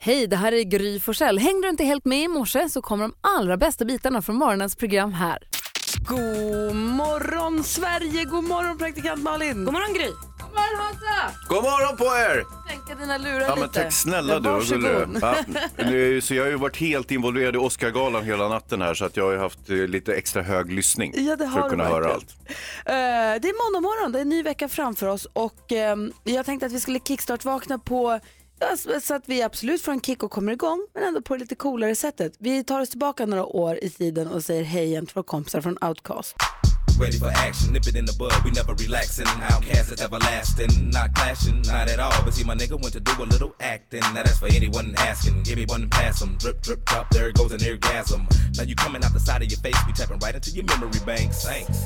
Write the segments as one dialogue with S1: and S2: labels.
S1: Hej, det här är Gry Forssell. Hängde du inte helt med i morse så kommer de allra bästa bitarna från morgonens program här.
S2: God morgon, Sverige! God morgon, praktikant Malin!
S3: God morgon, Gry!
S1: God morgon, Hansa!
S4: God morgon på er!
S1: Sänka dina lurar
S4: Ja, men
S1: lite.
S4: tack snälla du. vad gullig du är. Ja, det är ju- så jag har ju varit helt involverad i Oscargalan hela natten här så att jag har ju haft eh, lite extra hög lyssning
S2: Ja, det har
S4: för att kunna
S2: du
S4: höra
S2: verkligen.
S4: allt.
S2: Eh, det är måndag morgon, det är en ny vecka framför oss och ehm, jag tänkte att vi skulle kickstart-vakna på ja, så- så att vi absolut får en kick och kommer igång men ändå på det lite coolare sättet. Vi tar oss tillbaka några år i tiden och säger hej igen till våra kompisar från Outcast.
S5: Ready for action, nip it in the bud, we never relaxing. Outcast is everlasting, not clashing, not at all. But see, my nigga went to do a little acting. Now that's for anyone asking. Give me one and pass 'em. Drip, drip, drop, there goes an orgasm. Now you coming out the side of your face, we tapping right into your memory bank. Thanks.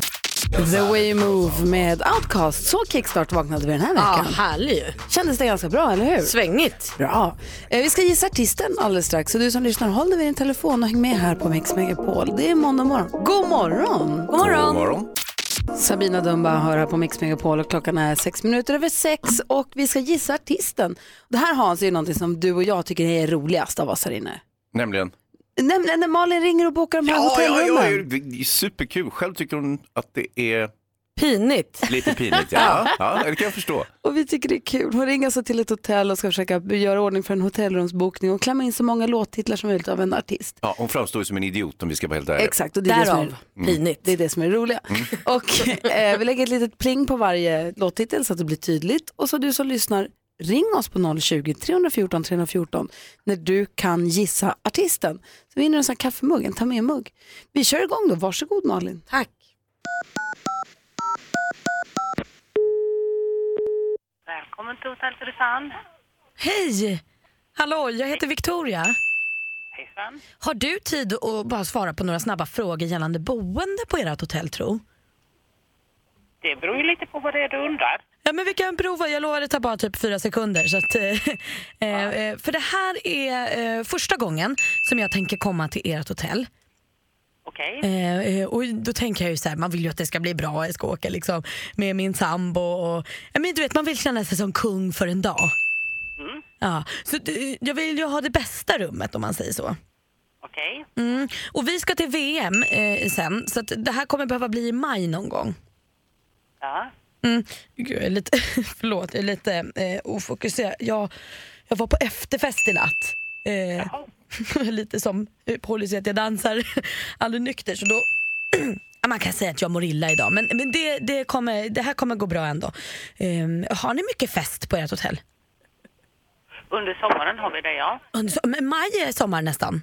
S2: The Way You Move med Outcast. Så kickstart vaknade vi den här
S3: Ja,
S2: veckan.
S3: härlig ju.
S2: Kändes det ganska bra, eller hur?
S3: Svängigt.
S2: Bra. Eh, Vi ska gissa artisten alldeles strax. Så du som lyssnar, håll dig vid din telefon och häng med här på Mix Megapol. Det är måndag morgon. God morgon!
S3: God
S4: God
S3: morgon.
S4: morgon.
S2: Sabina Dumba hör här på Mix Megapol och klockan är sex minuter över sex och vi ska gissa artisten. Det här Hans är ju någonting som du och jag tycker är roligast av oss här inne.
S4: Nämligen.
S2: Nämligen när Malin ringer och bokar de här hotellrummen.
S4: det är superkul. Själv tycker hon att det är
S3: Pinigt.
S4: lite pinigt. Ja, ja det kan jag förstå.
S2: Och vi tycker det är kul. Hon ringer alltså till ett hotell och ska försöka göra ordning för en hotellrumsbokning och klämma in så många låttitlar som möjligt av en artist.
S4: Ja, hon framstår ju som en idiot om vi ska vara helt ärliga.
S2: Exakt, och det är det som är
S3: Därav
S6: Mm.
S3: pinigt.
S2: Det är det som är det roliga. Och eh, vi lägger ett litet pling på varje låttitel så att det blir tydligt. Och så du som lyssnar, ring oss på 020-314 314 när du kan gissa artisten. Så vinner du en sån här kaffemugg, en ta med-mugg. Vi kör igång då, varsågod Malin.
S3: Tack.
S7: Välkommen till Hotell Susanne.
S3: Hej! Hallå, jag heter Victoria.
S7: Hejsan.
S3: Har du tid att bara svara på några snabba frågor gällande boende på ert hotell, tro?
S7: Det beror ju lite på vad det är du undrar.
S3: Ja, men vi kan prova. Jag lovar, det tar bara typ fyra sekunder. Så att, eh, eh, för det här är eh, första gången som jag tänker komma till ert hotell.
S7: Okej.
S3: Eh, eh, och då tänker jag ju så här, man vill ju att det ska bli bra. Jag ska åka liksom, med min sambo. Och, ja, men du vet, man vill känna sig som kung för en dag. Ja, så eh, jag vill ju ha det bästa rummet om man säger så.
S7: Okej.
S3: Mm. Och vi ska till VM eh, sen, så att det här kommer behöva bli i maj någon gång.
S7: Ja.
S3: Mm. Gud, jag är lite, förlåt, jag är lite eh, ofokuserad. Jag, jag var på efterfest i natt. Eh,
S7: Jaha.
S3: jag är lite som eh, policy att jag dansar aldrig nykter. Så då, Ja, man kan säga att jag mår illa idag, men, men det, det, kommer, det här kommer gå bra ändå. Ehm, har ni mycket fest på ert hotell?
S7: Under sommaren har vi det, ja.
S3: Under som- men Maj är sommar nästan.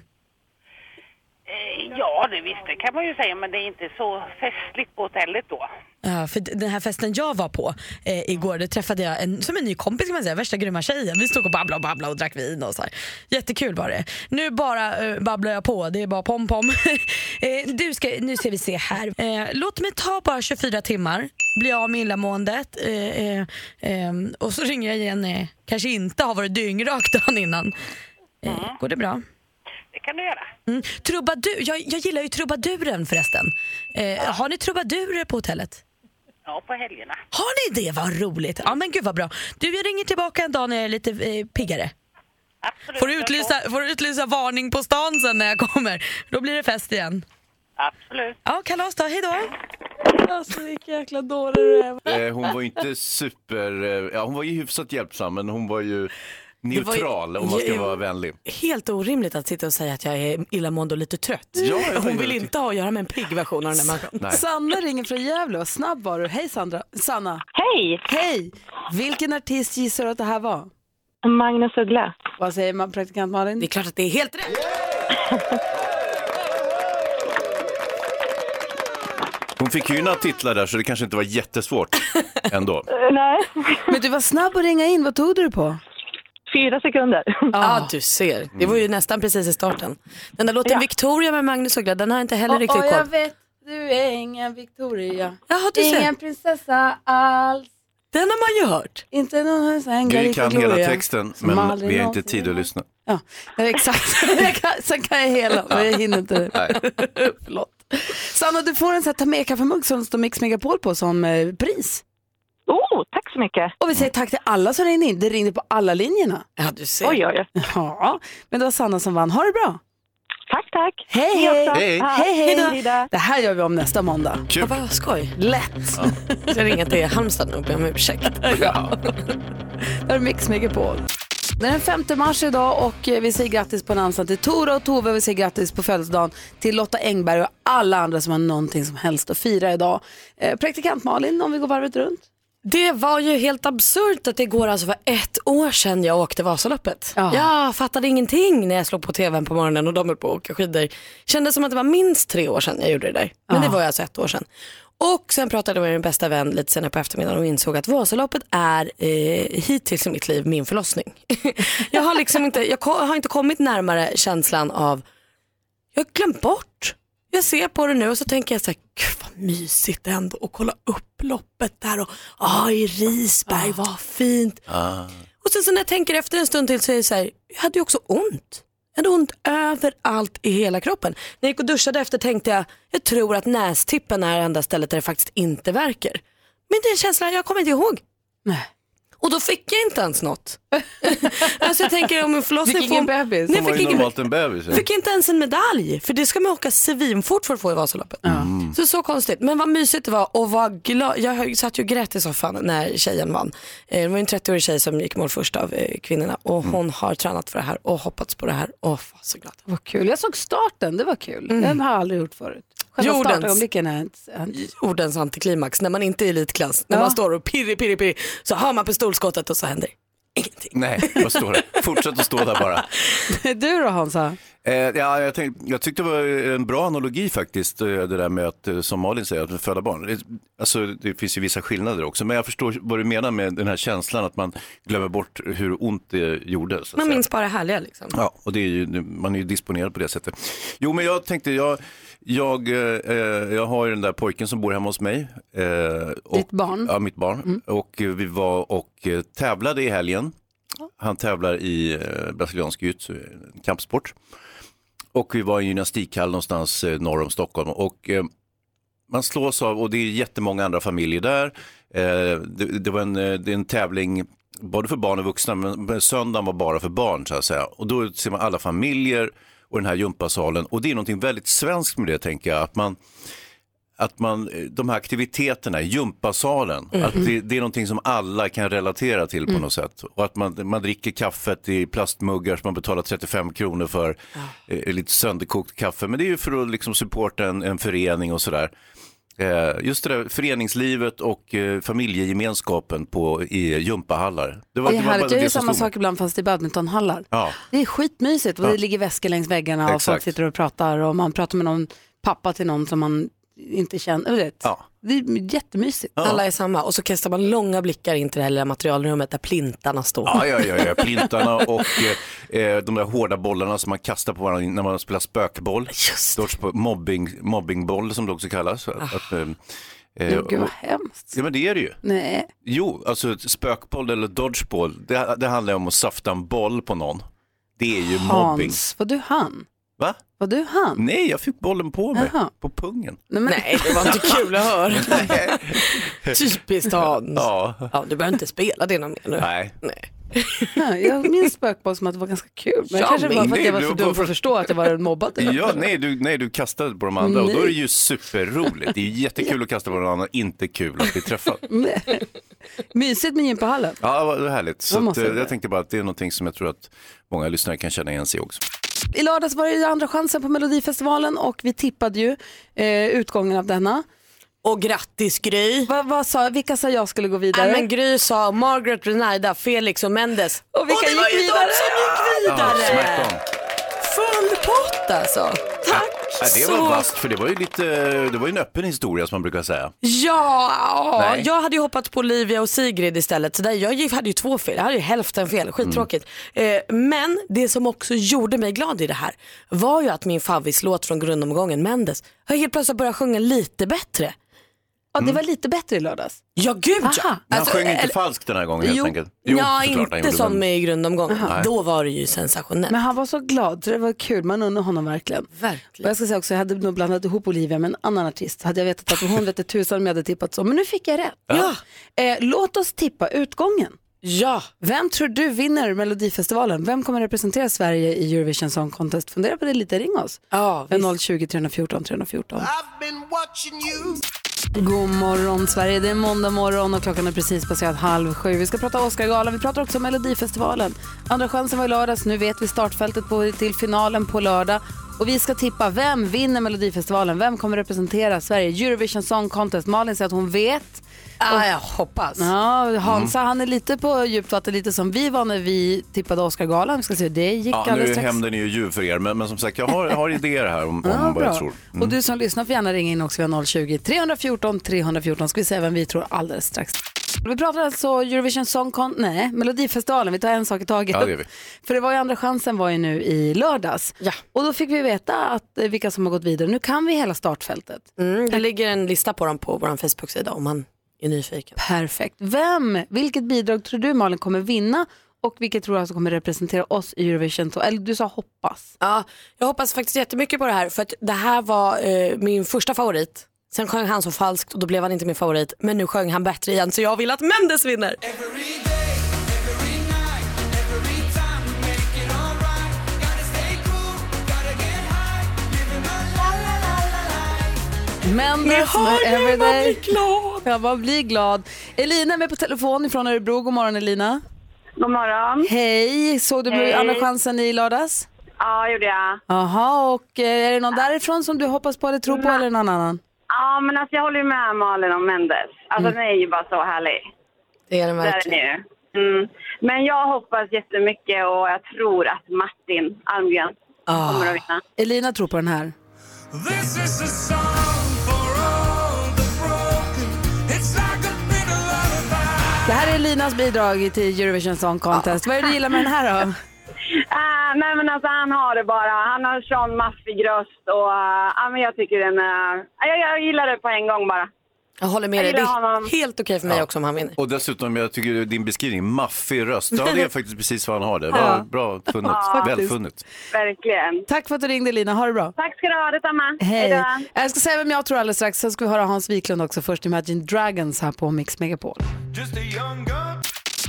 S7: Eh, ja, det visst, det kan man ju säga, men det är inte så festligt på hotellet då.
S3: Ja, för d- den här festen jag var på eh, igår, det träffade jag en, som en ny kompis kan man säga, värsta grymma tjejen. Vi stod och babblade och babblade och drack vin och så här. Jättekul var det. Nu bara eh, babblar jag på, det är bara pom pom. eh, du ska, nu ska vi se här. Eh, låt mig ta bara 24 timmar, bli av med illamåendet eh, eh, eh, och så ringer jag igen när jag kanske inte har varit dyngrak dagen innan. Eh, går det bra?
S7: Det kan du göra.
S3: Mm. Trubadur, jag, jag gillar ju trubaduren förresten. Eh, har ni trubadurer på hotellet?
S7: Ja, på helgerna.
S3: Har ni det? Vad roligt. Ja men gud vad bra. Du jag ringer tillbaka en dag när jag är lite eh, piggare.
S7: Absolut.
S3: Får du, utlysa, får du utlysa varning på stan sen när jag kommer. Då blir det fest igen.
S7: Absolut.
S3: Ja kalas då, hejdå.
S2: Alltså vilka jäkla dåre du är.
S4: Eh, hon var ju inte super... Eh, ja, hon var ju hyfsat hjälpsam men hon var ju neutral om man ska vara vänlig.
S8: helt orimligt att sitta och säga att jag är illamående och lite trött.
S4: jag
S8: Hon
S4: tänkte
S8: vill
S4: det.
S8: inte ha att göra med en pigg version av den här människan.
S4: Nej.
S2: Sanna ringer från Gävle, vad snabb var du. Hej Sandra. Sanna,
S9: Hej!
S2: hej! Vilken artist gissar du att det här var?
S9: Magnus Uggla.
S2: Vad säger man, praktikant Malin?
S8: Det är klart att det är helt rätt.
S4: Hon fick ju några titlar där så det kanske inte var jättesvårt ändå.
S9: Nej,
S2: Men du var snabb att ringa in, vad tog du det på?
S9: fyra sekunder.
S8: Ja, du ser. Det var ju
S4: Mm.
S8: nästan precis i starten. Den där låten
S9: Ja.
S8: Victoria med Magnus Uggla, den har jag inte heller riktigt koll på.
S2: vet, du är ingen Victoria.
S8: Jaha, du ser.
S2: prinsessa alls.
S8: Den har man ju hört.
S2: Inte någon sängare
S4: Vi kan hela texten
S2: Som
S4: men
S2: aldrig
S4: vi har inte
S2: någonsin
S4: tid att lyssna.
S2: Ja, ja, exakt. Jag kan- Sen kan jag hela, men jag hinner inte. Förlåt. Sanna, du får en sån här ta med kaffemugg som står Mix Megapol på som eh, pris.
S9: Oh, tack så mycket.
S2: Och vi säger tack till alla som ringde in. Det ringde på alla linjerna.
S3: Ja, du ser.
S9: Oj, oj, oj.
S2: Ja, men det var Sanna som vann. Ha det bra!
S9: Tack, tack.
S2: Hej,
S9: Ni
S2: hej.
S9: också.
S4: Hej.
S9: Ja,
S2: Hej, hej.
S9: Hej då.
S2: Det här gör vi om nästa måndag.
S3: Ja, vad skoj.
S2: Lätt!
S3: Jag ska ringa till Halmstad nu och be om ursäkt.
S2: Det är Mix Megapol. Det är den 5 mars idag och eh, vi säger grattis på namnsdagen till Tora och Tove. Vi säger grattis på födelsedagen till Lotta Engberg och alla andra som har någonting som helst att fira idag. Eh, praktikant Malin, om vi går varvet runt.
S3: Det var ju helt absurt att det igår alltså var ett år sedan jag åkte Vasaloppet.
S2: Ja.
S3: Jag fattade ingenting när jag slog på tvn på morgonen och de höll på att åka skidor. Kändes som att det var minst tre år sedan jag gjorde det där. Men det var ju alltså ett år sedan. Och sen pratade jag med min bästa vän lite senare på eftermiddagen och insåg att Vasaloppet är eh, hittills i mitt liv min förlossning. jag har liksom inte, jag ko- har inte kommit närmare känslan av jag har glömt bort. Jag ser på det nu och så tänker jag så här, gud vad mysigt ändå att kolla upp loppet där och ah, i Risberg, vad fint. Och sen så när jag tänker efter en stund till så är det så här, jag hade ju också ont. Jag hade ont överallt i hela kroppen. När jag gick och duschade efter tänkte jag, jag tror att nästippen är det enda stället där det faktiskt inte verkar. Men den känslan, jag kommer inte ihåg.
S2: Nej.
S3: Och då fick jag inte ens något. alltså jag tänker om en förlossning
S2: Fick ingen
S3: får-
S2: bebis?
S3: Nej,
S4: Hon var
S3: fick
S4: ju
S3: ingen
S4: normalt en bebis. ja.
S3: Fick inte ens en medalj, för det ska man åka svinfort för att få i Vasaloppet.
S4: Mm.
S3: Så så konstigt. Men vad mysigt det var och vad glad. Jag satt ju och grät i soffan när tjejen vann. Eh, Det var ju en 30-årig tjej som gick mål först av eh, kvinnorna och
S4: Mm.
S3: hon har tränat för det här och hoppats på det här och var så glad.
S2: Vad kul. Jag såg starten, det var kul. Det har jag aldrig gjort förut. Själva
S3: Jordens.
S2: startögonblicken är en...
S3: Ordens antiklimax när man inte är i elitklass, när
S2: Ja.
S3: man står och pirri, pirri, pirri så har man pistolskottet och så händer ingenting.
S4: Nej, vad står det? Fortsätt att stå där bara.
S2: Du då Hansa?
S4: Eh, ja, jag, tänkte, jag tyckte det var en bra analogi faktiskt, eh, det där med att, eh, som Malin säger, att föda barn. Eh, Alltså, det finns ju vissa skillnader också, men jag förstår vad du menar med den här känslan att man glömmer bort hur ont det gjorde. Så att
S3: Man
S4: säga.
S3: minns bara det härliga liksom.
S4: Ja, och det är ju, man är ju disponerad på det sättet. Jo, men jag tänkte, jag, jag, eh, eh, jag har ju den där pojken som bor hemma hos mig. Eh, och,
S2: Ditt barn?
S4: Ja, mitt barn. Och eh, vi var och eh, tävlade i helgen. Han tävlar i eh, brasiliansk jujutsu, en kampsport. Och vi var i en gymnastikhall någonstans eh, norr om Stockholm. Och, eh, man slås av, och det är jättemånga andra familjer där. Eh, det, det, var en, eh, det är en tävling både för barn och vuxna, men men söndagen var bara för barn så att säga. Och då ser man alla familjer och den här gympasalen. Och det är någonting väldigt svenskt med det tänker jag, att man att man, eh, de här aktiviteterna, gympasalen,
S2: Mm.
S4: att det, det är någonting som alla kan relatera till på något sätt. Och att man, man dricker kaffet i plastmuggar som man betalar 35 kronor för, eh, lite sönderkokt kaffe. Men det är ju för att liksom supporta en, en förening och sådär. Eh, just det där föreningslivet och eh, familjegemenskapen på, i gympahallar. var-
S2: Det är
S4: var bara
S2: härligt. Jag
S4: det
S2: gör
S4: som
S2: samma
S4: slog mig.
S2: sak ibland fast i badmintonhallar.
S4: Ja.
S2: Det är skitmysigt. Och Det ligger väskor längs väggarna och folk
S4: Exakt.
S2: sitter och pratar och man pratar med någon pappa till någon som man inte känner. Du Vet.
S4: Ja.
S2: Det är jättemysigt.
S3: Alla är samma och så kastar man långa blickar in till det här lilla materialrummet där plintarna står.
S4: Ja, ja, ja, ja. plintarna och eh, eh, de där hårda bollarna som man kastar på varandra när man spelar spökboll.
S3: Just
S4: Sorts på- mobbing, mobbingboll som det också kallas. Att, att, eh, eh,
S2: Gud
S4: och-
S2: vad hemskt.
S4: Ja men det är det ju.
S2: Nej.
S4: Jo, alltså ett spökboll eller dodgeball, det, det handlar ju om att safta en boll på någon. Det är ju mobbing.
S2: Hans, var du han?
S4: Va?
S2: Var du han?
S4: Nej, jag fick bollen på mig,
S2: Jaha.
S4: på pungen.
S2: Nej, men,
S3: Nej, det var inte kul att höra. Typiskt Hans. Ja.
S4: Ja,
S3: du behöver inte spela det någon mer nu.
S4: nej.
S3: Nej.
S2: jag minns spökboll som att det var ganska kul. Men
S3: Ja,
S2: kanske det var
S4: men
S2: för att
S4: det
S2: jag var
S4: blev
S2: så dum
S4: bara
S2: för
S4: för-
S2: att förstå att jag var en mobbad.
S4: Ja, nej, du, nej, du kastade på de andra och då är det ju superroligt. Det är ju jättekul att kasta på någon annan, inte kul att bli träffad.
S2: Nej. Mysigt med gympahallen.
S4: Ja, vad vad härligt. Så
S2: Vad
S4: att,
S2: måste
S4: eh,
S2: det vara?
S4: jag tänkte bara att det är någonting som jag tror att många lyssnare kan känna igen sig i också.
S2: I lördags var det ju andra chansen på Melodifestivalen och vi tippade ju eh, utgången av denna.
S3: Och grattis Gry.
S2: Vad- vad sa, vilka sa jag skulle gå
S3: Nej,
S2: vidare?
S3: men Gry sa Margaret, Renaida, Felix och Mendes.
S2: Och vilka
S3: det var
S2: gick
S3: ju
S2: vidare?
S3: de som gick
S4: Ja,
S3: vidare.
S4: smack on.
S3: Full pott alltså. Tack
S4: Ja, det
S3: så
S4: var vasst, för det var ju lite, det var ju en öppen historia som man brukar säga.
S3: Ja,
S4: Nej.
S3: jag hade ju hoppats på Olivia och Sigrid istället. Så där, jag gick- hade ju två fel, jag hade ju hälften
S4: Mm.
S3: fel, skittråkigt. Eh, men det som också gjorde mig glad i det här var ju att min favvislåt från grundomgången, Mendes, har helt plötsligt börjat sjunga lite bättre.
S2: Ja, det var lite bättre i lördags.
S3: Ja gud ja.
S2: Aha.
S4: Men
S3: Alltså,
S4: han sjöng inte
S3: eller-
S4: falskt den här gången helt
S3: Jo,
S4: enkelt.
S3: ja,
S4: såklart han
S3: inte
S4: gjorde,
S3: som
S4: men-
S3: i grundomgången.
S4: Nej.
S3: Då var det ju sensationellt.
S2: Men han var så glad så det var kul, man unnar honom verkligen. Och
S3: Verkligen.
S2: jag ska säga också, jag hade nog blandat ihop Olivia med en annan artist. Hade jag vetat att hon vette tusan om jag hade tippat så. Men nu fick jag rätt.
S4: Ja.
S2: Eh, låt oss tippa utgången.
S3: Ja.
S2: Vem tror du vinner Melodifestivalen? Vem kommer representera Sverige i Eurovision Song Contest? Fundera på det lite, ring oss.
S3: Ja, visst.
S2: 020 314 314. God morgon Sverige, det är måndag morgon och klockan är precis passerat halv sju. Vi ska prata Oscargalan, vi pratar också om Melodifestivalen. Andra chansen var i lördags, nu vet vi startfältet på, till finalen på lördag. Och vi ska tippa, vem vinner Melodifestivalen? Vem kommer representera Sverige? i Eurovision Song Contest. Malin säger att hon vet.
S10: Ah, jag hoppas.
S2: Ja, Hansa
S4: Mm.
S2: han är lite på djupt vatten, lite som vi var när vi tippade Oscargalan. Vi ska se hur det gick
S4: Ja, nu
S2: alldeles
S4: är
S2: strax.
S4: hämnden är ju ljuv för er, men, men som sagt jag har, jag har idéer här om, om
S2: Ja,
S4: vad jag
S2: bra.
S4: tror. Mm.
S2: Och du som lyssnar får gärna ringa in också via 020 314 314 ska vi säga vem vi tror alldeles strax. Vi pratar alltså Eurovision Song Con, nej, Melodifestivalen, vi tar en sak i taget.
S4: Ja, det gör vi.
S2: För det var ju andra chansen var ju nu i lördags.
S3: Ja.
S2: Och då fick vi veta att, eh, vilka som har gått vidare. Nu kan vi hela startfältet.
S3: Mm, det ligger en lista på dem på vår Facebook-sida om man är nyfiken.
S2: Perfekt. Vem, vilket bidrag tror du Malin kommer vinna och vilket tror du alltså kommer representera oss i Eurovision? Eller du sa hoppas.
S3: Ja, jag hoppas faktiskt jättemycket på det här för att det här var eh, min första favorit. Sen sjöng han så falskt och då blev han inte min favorit. Men nu sjöng han bättre igen så jag vill att Mendes vinner.
S2: Mendes med Everyday.
S3: glad!
S2: Jag bara blir glad. Elina är med på telefon ifrån Örebro. God morgon Elina.
S9: God morgon.
S2: Hej, såg du
S9: Hej.
S2: Andra chansen i lördags?
S9: Ja, gjorde jag.
S2: Jaha, och eh, är det någon därifrån som du hoppas på eller tror på eller någon annan?
S9: Ja, men alltså jag håller ju med Malin om Mendes. Alltså
S2: Mm.
S9: den är ju bara så härlig.
S3: Det är den
S9: Där är den
S3: verkligen.
S9: ju. Mm. Men jag hoppas jättemycket och jag tror att Martin Almgren
S2: Ah.
S9: kommer att vinna.
S2: Elina tror på den här.
S5: This is a song for all the broken. It's like a bit of lullaby.
S2: Det här är Elinas bidrag till Eurovision Song Contest. Vad är det du gillar med den här då?
S9: Ah, nej men alltså han har det bara. Han har sån maffig röst och ah, ja, men jag tycker den är... Ah, jag, jag gillar det på en gång bara.
S3: Jag håller med dig.
S9: Jag
S3: Det
S9: gillar
S3: är
S9: honom.
S3: helt okej för mig också om han vinner.
S4: Och dessutom, jag tycker din beskrivning, maffig röst, ja, det är faktiskt precis vad han har det. Bra, bra funnet, välfunnet.
S9: Verkligen.
S2: Tack för att du ringde Elina, ha det bra.
S9: Tack ska du ha, detsamma.
S2: Hej.
S9: då.
S2: Jag ska säga vem jag tror alldeles strax, sen ska vi höra Hans Wiklund också först, Imagine Dragons här på Mix Megapol.
S5: Just a young gun.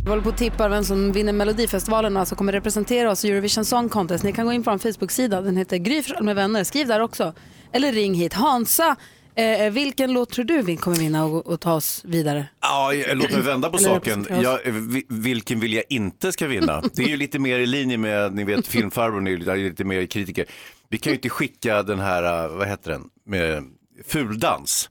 S2: Vi håller på och tippar vem som vinner Melodifestivalen och alltså kommer representera oss i Eurovision Song Contest. Ni kan gå in på vår Facebook-sida, den heter Gry Forssell med vänner. Skriv där också. Eller ring hit. Hansa, eh, vilken låt tror du vi kommer vinna och, och ta oss vidare?
S4: Ja, jag- låt mig vända på
S2: Eller
S4: saken.
S2: representera
S4: Jag, vi- vilken vill jag inte ska vinna? Det är ju lite mer i linje med, ni vet, filmfarbrorn är ju lite- lite mer kritiker. Vi kan ju inte skicka den här, eh, vad heter den, med fuldans.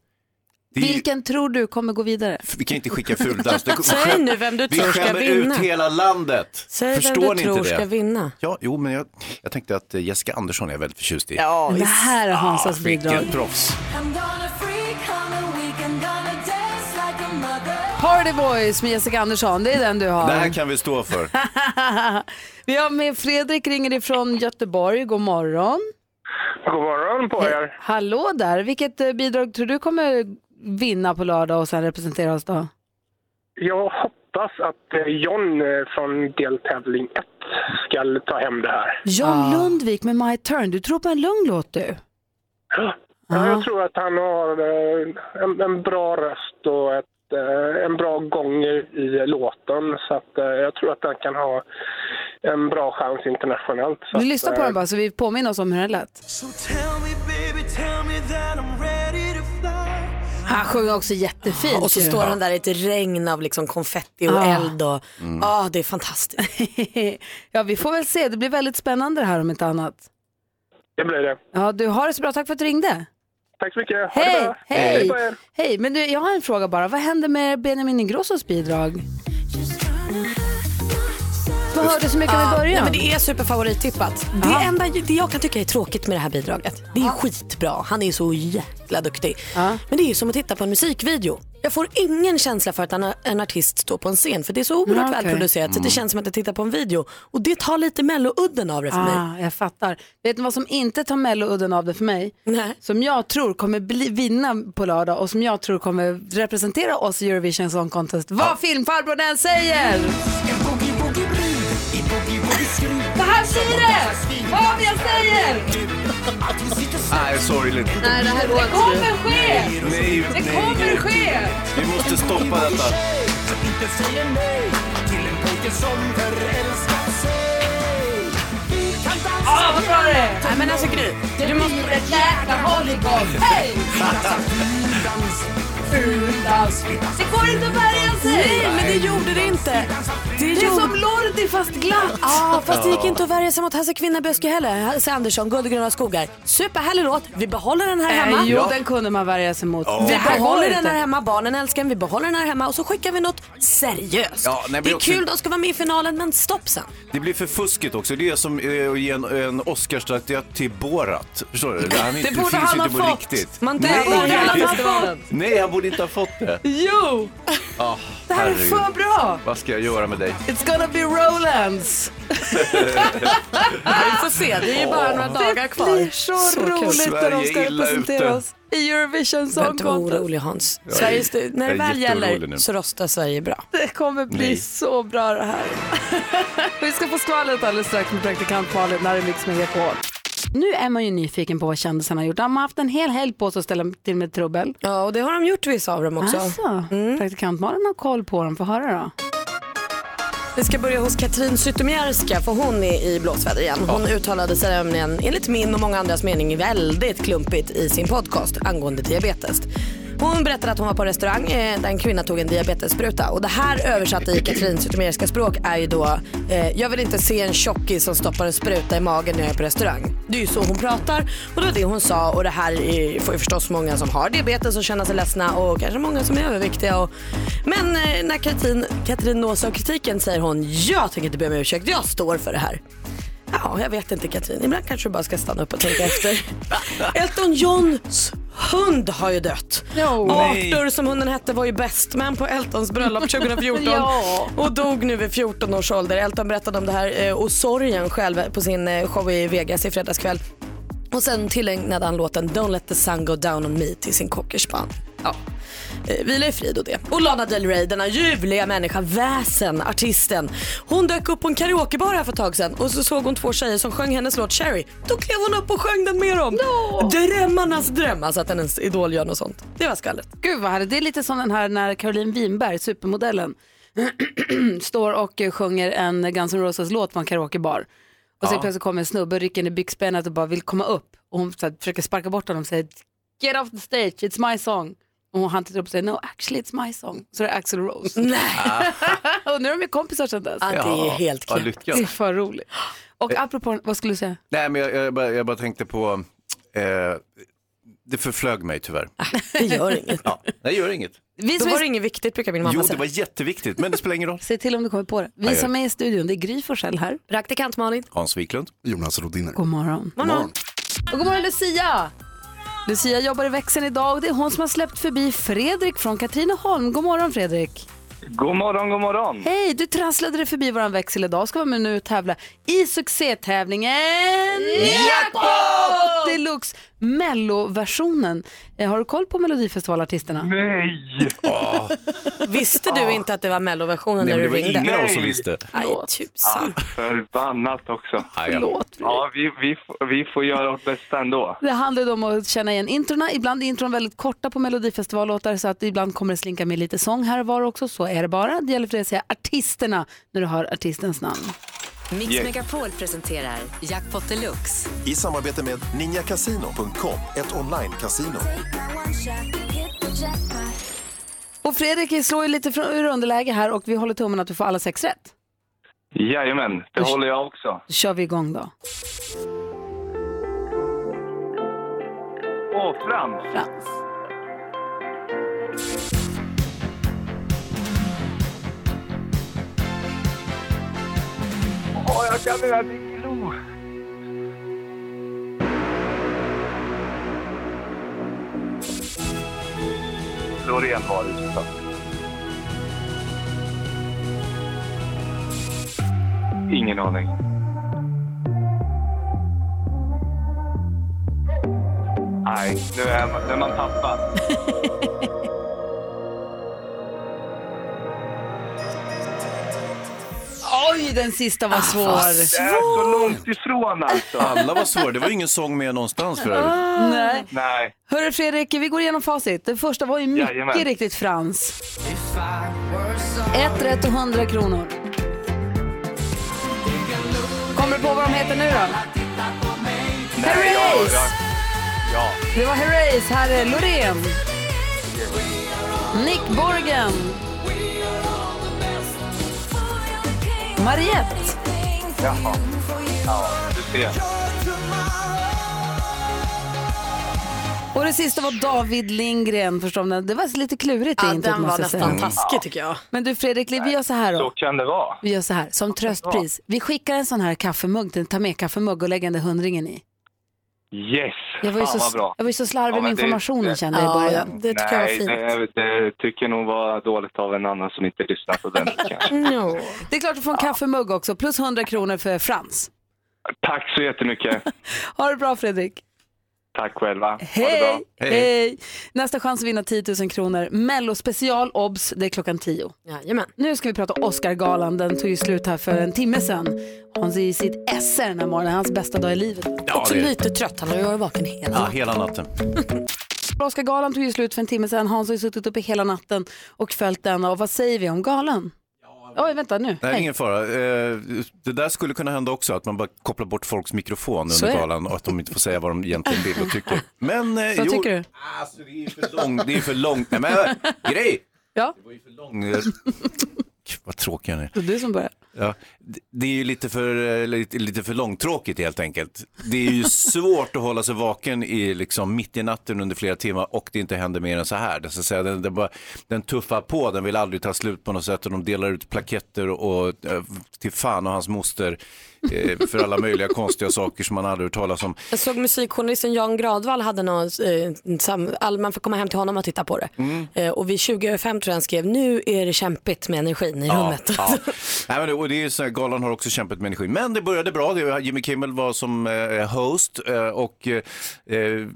S4: Det är ju-
S2: Vilken tror du kommer gå vidare?
S4: Vi kan inte skicka fuldans. Det-
S3: Säg nu vem du
S4: vi
S3: tror ska
S4: skämmer
S3: vinna.
S4: ut hela landet.
S3: Säg
S4: Förstår
S3: vem
S4: ni
S3: du tror
S4: inte det?
S3: ska vinna.
S4: Ja, jo, men jag, jag tänkte att eh, Jessica Andersson är jag väldigt förtjust i. ah,
S2: Det här är Hansas bidrag.
S4: Vilket proffs.
S2: Party Boys med Jessica Andersson, det är den du har.
S4: Det här kan vi stå för.
S2: Vi har med Fredrik, ringer ifrån Göteborg. God morgon. Eh,
S11: God morgon på er.
S2: Hallå där, vilket eh, bidrag tror du kommer vinna på lördag och sen representera oss då?
S11: Jag hoppas att eh, John eh, från deltävling 1 ska ta hem det här.
S2: John Lundvik med My Turn. Du tror på en lugn låt du?
S11: Ja, jag tror att han har eh, en, en bra röst och ett, eh, en bra gång i i låten. Så att, eh, jag tror att han kan ha en bra chans internationellt. Så
S2: Vi
S11: att,
S2: lyssnar på
S11: eh,
S2: den bara så vi påminner oss om hur den lät.
S5: So tell me, baby, tell me that I'm ready to fly.
S2: Han sjunger också jättefint.
S3: Och så
S2: ju.
S3: står han där i ett regn av liksom konfetti och eld. Och, ah, det är fantastiskt.
S2: ja, vi får väl se. Det blir väldigt spännande det här om inte annat.
S11: Det blir det.
S2: Ja, du har det så bra. Tack för att du ringde.
S11: Tack så mycket. Ha det
S2: Hej!
S11: bra. Hej
S2: Hej!
S11: på er.
S2: Hej! Men du, jag har en fråga bara. Vad hände med Benjamin Ingrossos bidrag? Vad hörde så mycket om i
S3: Ah, Nej,
S2: början?
S3: men det är superfavorittippat.
S2: Ah.
S3: Det enda det jag kan tycka är tråkigt med det här
S2: Ah.
S3: bidraget, det är skitbra. Han är så jäkla duktig. Men det är ju som att titta på en musikvideo. Jag får ingen känsla för att en, en artist står på en scen för det är så oerhört
S2: Ja, okej.
S3: välproducerat så det
S2: Mm.
S3: känns som att jag tittar på en video och det tar lite melloudden av det för mig.
S2: Ah, jag fattar. Vet ni vad som inte tar melloudden av det för mig? Som jag tror kommer bli, vinna på lördag och som jag tror kommer representera oss i Eurovision Song Contest. Vad filmfarbrorn än säger!
S5: Så här säger det! Vad vi än säger!
S4: Nej, sorgligt.
S5: Nej, det här går
S2: Det kommer ske!
S4: Nej,
S5: Det
S4: nej,
S5: kommer
S4: Gud.
S5: ske!
S4: Vi måste stoppa detta.
S5: Ah, vad bra det är!
S3: Nej, men alltså Gry,
S5: det blir ett jäkla volleyboll. Hej! Furdans. Det går inte att värja sig!
S3: Nej, men det gjorde det inte.
S5: Det är som
S2: Lordi fast glatt.
S3: Ja, Ah, fast det gick inte att värja sig mot Hasse Kvinnaböske heller. Hasse Andersson, Guld och gröna skogar. Superhärlig låt. Vi behåller den här hemma.
S2: Eh, jo, den kunde man värja sig mot.
S3: Vi
S2: Det här går
S3: behåller
S2: inte.
S3: den Äh, här hemma, barnen älskar den, vi behåller den här hemma och så skickar vi något seriöst.
S4: Ja, nej, men
S3: det är
S4: också-
S3: kul, de ska vara med i finalen men stopp sen.
S4: Det blir för fuskigt också. Det är som eh, att ge en, en Oscarsstatyett till Borat. Förstår du? Han,
S3: Det borde
S4: finns
S3: han
S4: ju
S3: ha
S4: inte på
S3: fått.
S4: Riktigt.
S3: Man dödar
S4: Nej.
S3: alla han har
S4: Nej, han borde inte ha fått det.
S2: Jo!
S4: Ja,
S2: Det här är
S4: herregud.
S2: för bra!
S4: Vad ska jag göra med dig?
S2: It's gonna be Rolands!
S3: Vi får se, det är ju bara några dagar kvar.
S2: Det blir så,
S3: Så kul.
S2: roligt när de
S3: Sverige
S2: ska
S3: är illa
S2: representera
S3: ute.
S2: oss i Eurovision
S3: Du behöver
S2: Song
S3: inte vara
S2: Contest.
S3: orolig Hans.
S2: Jag är-
S3: Sverige, stu- när
S2: jag
S3: det
S2: är
S3: väl
S2: jätteorolig
S3: gäller
S2: nu.
S3: så röstar Sverige bra.
S2: Det kommer bli
S3: Nej.
S2: så bra det här. Vi ska få skvallret alldeles strax med praktikant Malin när det Mix Megapol. Nu är man ju nyfiken på vad kändisarna har gjort. De har haft en hel helg på sig att ställa till med trubbel.
S3: Ja, och det har de gjort vissa av dem också.
S2: Alltså, Praktikant Malin har koll på dem. Få höra då.
S3: Vi ska börja hos Katrin Zytomierska för hon är i blåsväder igen. Hon uttalade sig nämligen enligt min och många andras mening väldigt klumpigt i sin podcast angående diabetes. Hon berättade att hon var på en restaurang eh, där en kvinna tog en diabetesspruta och det här översatt i Katrin Zytomierska språk är ju då eh, jag vill inte se en tjockis som stoppar en spruta i magen när jag är på restaurang. Det är ju så hon pratar och det var det hon sa och det här är, får ju förstås många som har diabetes att känna sig ledsna och kanske många som är överviktiga. Och... Men eh, när Katrin, Katrin nås av kritiken säger hon jag tänker inte be om ursäkt, jag står för det här. Ja, jag vet inte Katrin, ibland kanske du bara ska stanna upp och tänka efter. Elton Johns hund har ju dött.
S5: Nej.
S3: Arthur som hunden hette var ju bäst man på Eltons bröllop 2014
S5: Ja.
S3: och dog nu vid 14 års ålder. Elton berättade om det här eh, och sorgen själv på sin eh, show i Vegas i fredags kväll. Och sen tillägnade han låten Don't let the sun go down on me till sin cockerspaniel. Ja. Eh, Vila i frid och det. Och Lana Del Rey, denna ljuvliga människa, väsen, artisten. Hon dök upp på en karaokebar här för ett tag sedan och så såg hon två tjejer som sjöng hennes låt Cherry. Då klev hon upp och sjöng den med dem. Drömmarnas dröm, alltså att hennes idol gör något sånt. Det var skallet.
S2: Gud vad härligt. Det är lite som den här när Caroline Winberg, supermodellen, står och eh, sjunger en Guns N' Roses-låt på en karaokebar. Och så
S3: Ja.
S2: plötsligt kommer en snubbe och rycker henne i byxbenet och bara vill komma upp. Och hon så här, försöker sparka bort honom och säger Get off the stage, it's my song. Och han tittar upp och säger No, actually it's my song. Så det är Axl Rose.
S3: Nej.
S2: och nu är de ju kompisar sedan dess.
S4: Ja, det är ju helt Ja, knäppt. lyckat.
S2: Det är för roligt. Och
S3: Eh.
S2: apropå, vad skulle du säga?
S4: Nej, men jag, jag, bara, jag bara tänkte på... Eh, det förflög mig tyvärr.
S3: Det gör inget.
S4: Ja, det gör inget.
S3: Då var det inget viktigt brukar min mamma
S4: Jo, det
S3: säga.
S4: var jätteviktigt, men det spelar ingen roll.
S2: Se till om du kommer på det. Vi
S4: Ja, ja.
S2: som är i studion, det är Gry Forssell här.
S3: Praktikant Malin.
S4: Hans Wiklund.
S12: Jonas Rodiner.
S2: God morgon. Och god morgon Lucia! Lucia jobbar i växeln idag och det är hon som har släppt förbi Fredrik från Katrineholm. God morgon Fredrik!
S13: God morgon, god morgon.
S2: Hej, du trasslade dig förbi våran växel idag och ska vara med nu och tävla i succétävlingen
S5: Jackpot!
S2: Deluxe Mello-versionen. Eh, Har du koll på Melodifestivalartisterna?
S13: Nej!
S3: Visste du inte att det var melloversionen
S13: Nej,
S3: när
S13: men
S3: du
S13: det var
S3: ringde?
S13: ingen av oss som visste.
S3: Aj, tusan.
S13: Förbannat också.
S4: Förlåt.
S13: Ja, vi, vi, får- vi får göra vårt bästa ändå.
S2: Det handlar ju om att känna igen introna. Ibland är intron väldigt korta på Melodifestivallåtar så att ibland kommer det slinka med lite sång här och var också. Så är det bara. Det gäller för dig att säga artisterna när du hör artistens namn.
S6: Mix
S12: Yeah.
S6: Megapol presenterar Jackpot Deluxe.
S12: I samarbete med ninjakasino.com, ett online-casino.
S2: Och Fredrik slår ju lite från, ur underläge här och vi håller tummen att du får alla sex rätt.
S13: Jajamän, det håller jag också.
S2: Då kör vi igång då.
S13: Åh, Frans.
S2: Frans.
S13: Åh, jag kan den här Diggiloo. och renvaror såklart. Ingen aning. Nej, nu är man, nu är man tappad.
S2: Oj, den sista var svår.
S13: Det är så långt ifrån alltså.
S4: Alla var svåra, det var ingen sång med någonstans för övrigt.
S2: Ah. Nej.
S13: Nej.
S2: Hörru Fredrik, vi går igenom facit. Den första var ju mycket
S4: Jajamän.
S2: riktigt Frans. Ett rätt och 100 kronor. Kommer du på vad de heter nu då?
S5: Nej, jag har
S2: Herreys!
S13: Ja.
S2: Det var Herreys. Här är Loreen. Nick Borgen. Mariette.
S13: Jaha. Ja, du ser.
S2: Och det sista var David Lindgren, förstår du? Det var lite klurigt
S3: Ja,
S2: det introt,
S3: den var
S2: måste jag
S3: nästan
S2: säga.
S3: taskig tycker jag.
S2: Men du Fredrik, vi gör så här
S13: Så
S2: då.
S13: kan det vara.
S2: Vi gör så här, som tröstpris. Vi skickar en sån här kaffemugg, en ta med kaffemugg och lägger den där hundringen i.
S13: Yes,
S2: Jag var ju
S13: fan
S2: så,
S13: vad bra.
S2: jag var ju så slarvig
S13: Ja,
S2: med
S13: men det-
S2: informationen
S13: det-
S2: kände jag i början.
S13: Nej, Det, det tycker jag nog var dåligt av en annan som inte lyssnar på den.
S2: Det är klart du får en kaffemugg också, plus 100 kronor för Frans.
S13: Tack så jättemycket.
S2: Ha det bra Fredrik.
S13: Tack själva. Ha det
S2: Hej!
S13: bra.
S2: Hej! Nästa chans att vinna 10 000 kronor. Mello special obs, det är klockan 10.
S3: Jajamän.
S2: Nu ska vi prata Oscargalan, den tog ju slut här för en timme sedan. Hans är i sitt esse den här morgonen, hans bästa dag i livet.
S4: Ja, Också det är- lite
S3: trött, han har ju varit vaken hela
S4: Ja, hela natten.
S2: Oscargalan tog ju slut för en timme sedan. Hans har ju suttit uppe hela natten och följt den. Och vad säger vi om galan? Oj, vänta nu.
S4: Nej,
S2: Hej.
S4: ingen fara. Eh, Det där skulle kunna hända också, att man bara kopplar bort folks mikrofon
S2: Så är
S4: under
S2: det.
S4: galan och att de inte får säga vad de egentligen vill och tycker. Men eh,
S2: Vad
S4: jo,
S2: tycker du?
S4: Alltså, det är ju för långt. Det är för långt. Nej, men grej!
S2: Ja.
S4: Det var ju för långt. Eh, Gud, Vad tråkig han är.
S2: Det är du som börjar.
S4: Ja, det- det är ju lite för, eh, lite, lite för långtråkigt helt enkelt. Det är ju svårt att hålla sig vaken i, liksom, mitt i natten under flera timmar och det inte händer mer än så här. Det, så att säga, den, den, bara, den tuffar på, den vill aldrig ta slut på något sätt och de delar ut plaketter och, eh, till fan och hans moster eh, för alla möjliga konstiga saker som man aldrig hört talas om.
S3: Jag såg musikjournalisten Jan Gradvall hade någon, eh, sam, all, man får komma hem till honom och titta på det.
S13: Mm.
S3: Eh, och vid 20 över fem tror jag han skrev, nu är det kämpigt med energin i rummet.
S4: Ja. Nej, men det, och det är ju så här, galan har också kämpat med energi. Men det började bra. Det var, Jimmy Kimmel var som eh, host eh, och eh,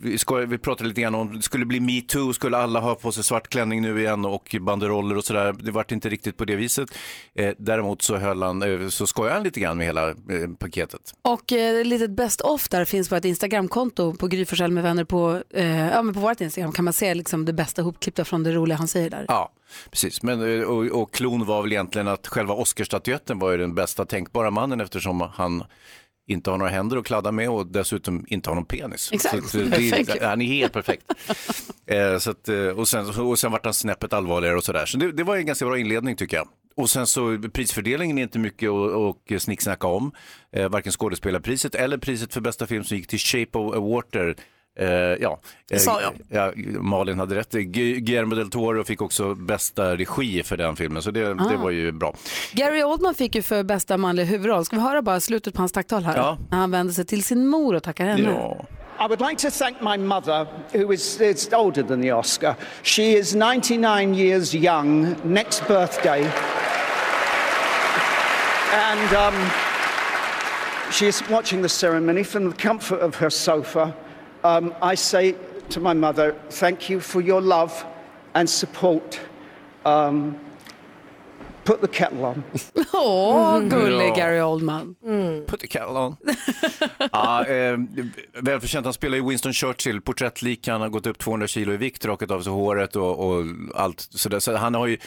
S4: vi, ska, vi pratade lite grann om, skulle bli metoo, skulle alla ha på sig svart klänning nu igen och banderoller och sådär. Det vart inte riktigt på det viset. Eh, däremot så, höll han, eh, så skojade han lite grann med hela eh, paketet.
S2: Och eh, ett litet best of där finns på ett Instagramkonto på Gry Forssell med vänner på, eh, ja, men på vårt Instagram kan man se liksom det bästa hopklippta från det roliga han säger där.
S4: Ja, precis. Men, eh, och, och klon var väl egentligen att själva Oscarsstatyetten var ju den bästa tänkbara mannen eftersom han inte har några händer att kladda med och dessutom inte har någon penis.
S2: Exakt.
S4: Så att, eh,
S2: Perfekt.
S4: Det, han är helt perfekt. eh, så att, eh, och, sen, och sen vart han snäppet allvarligare och sådär. Så det, det var en ganska bra inledning tycker jag. Och sen så prisfördelningen är inte mycket att att snicksnacka om. Eh, varken skådespelarpriset eller priset för bästa film som gick till Shape of Water. Eh, ja, Eh,
S3: Det sa jag.
S4: Ja, Malin hade rätt. Gu- Guillermo del Toro fick också bästa regi för den filmen, så det,
S2: Ah.
S4: det var ju bra.
S2: Gary Oldman fick ju för bästa manliga huvudroll. Ska vi höra bara slutet på hans tacktal här?
S4: Ja.
S2: När han vänder sig till sin mor och tackar henne.
S14: I would like to thank my mother, who is it's older than the Oscar. She is 99 years young, next birthday. And um, she is watching the ceremony from the comfort of her sofa. Um, I say to my mother, thank you for your love and support. Um, put the kettle on.
S2: Åh, gullig
S4: Ja.
S2: Gary Oldman.
S4: Putty Callon. ja, eh, välförtjänt. Han spelar ju Winston Churchill, porträttlik. Han har gått upp 200 kilo i vikt, rakat av sig håret och, och allt sådär. Så han har ju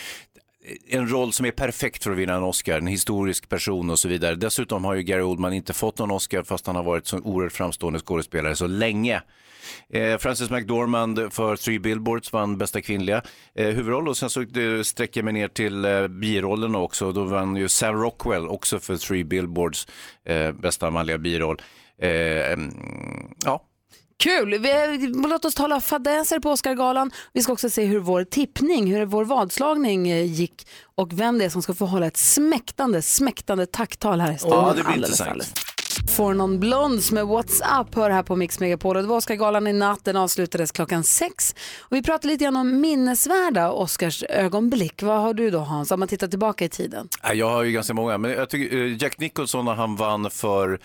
S4: en roll som är perfekt för att vinna en Oscar, en historisk person och så vidare. Dessutom har ju Gary Oldman inte fått någon Oscar fast han har varit så oerhört framstående skådespelare så länge. Eh, Frances McDormand för Three Billboards vann bästa kvinnliga eh, huvudroll och sen så eh, sträcker jag mig ner till eh, birollen också. Då vann ju Sam Rockwell också för Three Billboards eh, bästa manliga biroll. Eh, mm, ja,
S2: Kul! Vi, eh, låt oss tala fadäser på Oscargalan. Vi ska också se hur vår tippning, hur vår vadslagning eh, gick och vem det är som ska få hålla ett smäktande, smäktande tacktal här i
S4: ja
S2: studion
S4: det blir
S2: alldeles,
S4: intressant.
S2: alldeles. Får någon blonds med WhatsApp hör här på Mix Megapol. Och Det var Oscargalan i natt, den avslutades klockan sex. Och vi pratade lite grann om minnesvärda Oscars ögonblick. Vad har du då Hans, om man tittar tillbaka i tiden?
S4: Ja, Jag har ju ganska många, men jag tycker eh, Jack Nicholson när han vann för,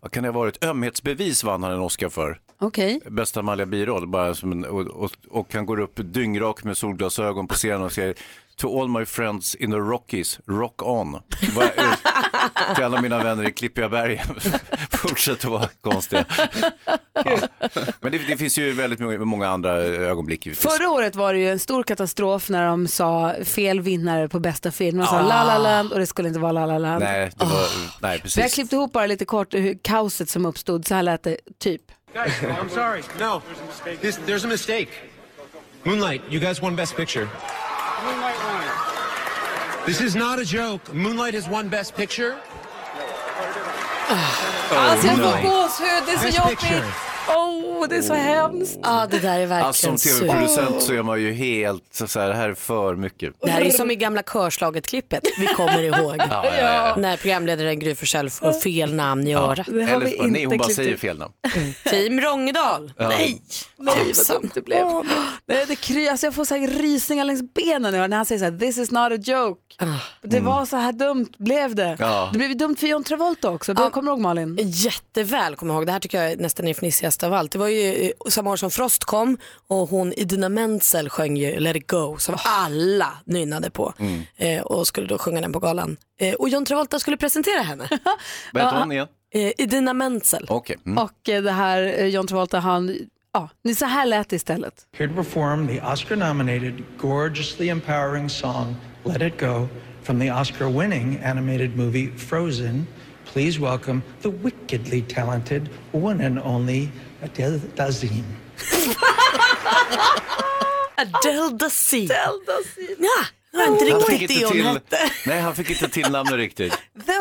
S4: vad kan det ha varit, ömhetsbevis vann han en Oscar för.
S2: Okej.
S4: Bästa manliga biroll, bara som en, och, och, och han går upp dyngrak med solglasögon på scenen och säger To all my friends in the Rockies, rock on. Bara, eh, Till alla mina vänner i Klippiga bergen, fortsätt att vara konstiga. Ja. Men det, det finns ju väldigt många, många andra ögonblick.
S2: Förra året var det ju en stor katastrof när de sa fel vinnare på bästa film. De sa La La Land och det skulle inte vara La La Land.
S4: Nej, det var, nej,
S2: Så jag
S4: precis.
S2: klippte ihop bara lite kort hur kaoset som uppstod. Så här lät det typ.
S15: Guys, I'm sorry. No, this, there's a mistake. Moonlight, you guys won Best Picture. This is not a joke. Moonlight has won Best Picture.
S5: Alltså, jag får
S2: gåshud,
S5: det är så jobbigt.
S2: Åh, det är så hemskt.
S3: Ja, det där är verkligen
S4: Alltså, som
S3: surt.
S4: tv-producent så är man ju helt så här, det här är för mycket.
S3: Det här är ju som i gamla körslaget-klippet vi kommer ihåg.
S4: Ja, ja, ja.
S3: När programledaren Gry Forssell får fel namn i örat.
S4: Eller, nej, hon bara säger fel namn.
S3: Team Rongedal.
S4: Mm. Ja.
S3: Nej,
S2: Nej, vad dumt det blev. Nej, det kry, alltså jag får så här rysningar längs benen nu när han säger så här, this is not a joke. Det var så här dumt, blev det.
S3: Ja.
S2: Det blev ju dumt för John Travolta också. Du kommer du ihåg Malin?
S3: Jätteväl kommer jag ihåg. Det här tycker jag är nästan är fnissigaste av allt. Det var ju eh, samma år som Frost kom och hon Idina Menzel sjöng ju Let it go som alla nynnade på eh, och skulle då sjunga den på galan. Eh, och John Travolta skulle presentera henne.
S4: Vad heter hon igen?
S3: Eh, Idina Menzel.
S4: Okej. Mm.
S2: Och eh, det här eh, John Travolta, han, ja, ni så här lät det istället.
S16: Here to perform the Oscar nominated, gorgeously empowering song Let It Go from the Oscar winning animated movie Frozen. Please welcome the wickedly talented one and only Adele Dazim.
S3: Adele Dazeem. Adele Ah. Ja, det var inte
S4: Han
S3: riktigt
S4: fick
S3: det hon
S4: till-
S3: hette.
S4: Nej, han fick inte till namnet riktigt.
S2: The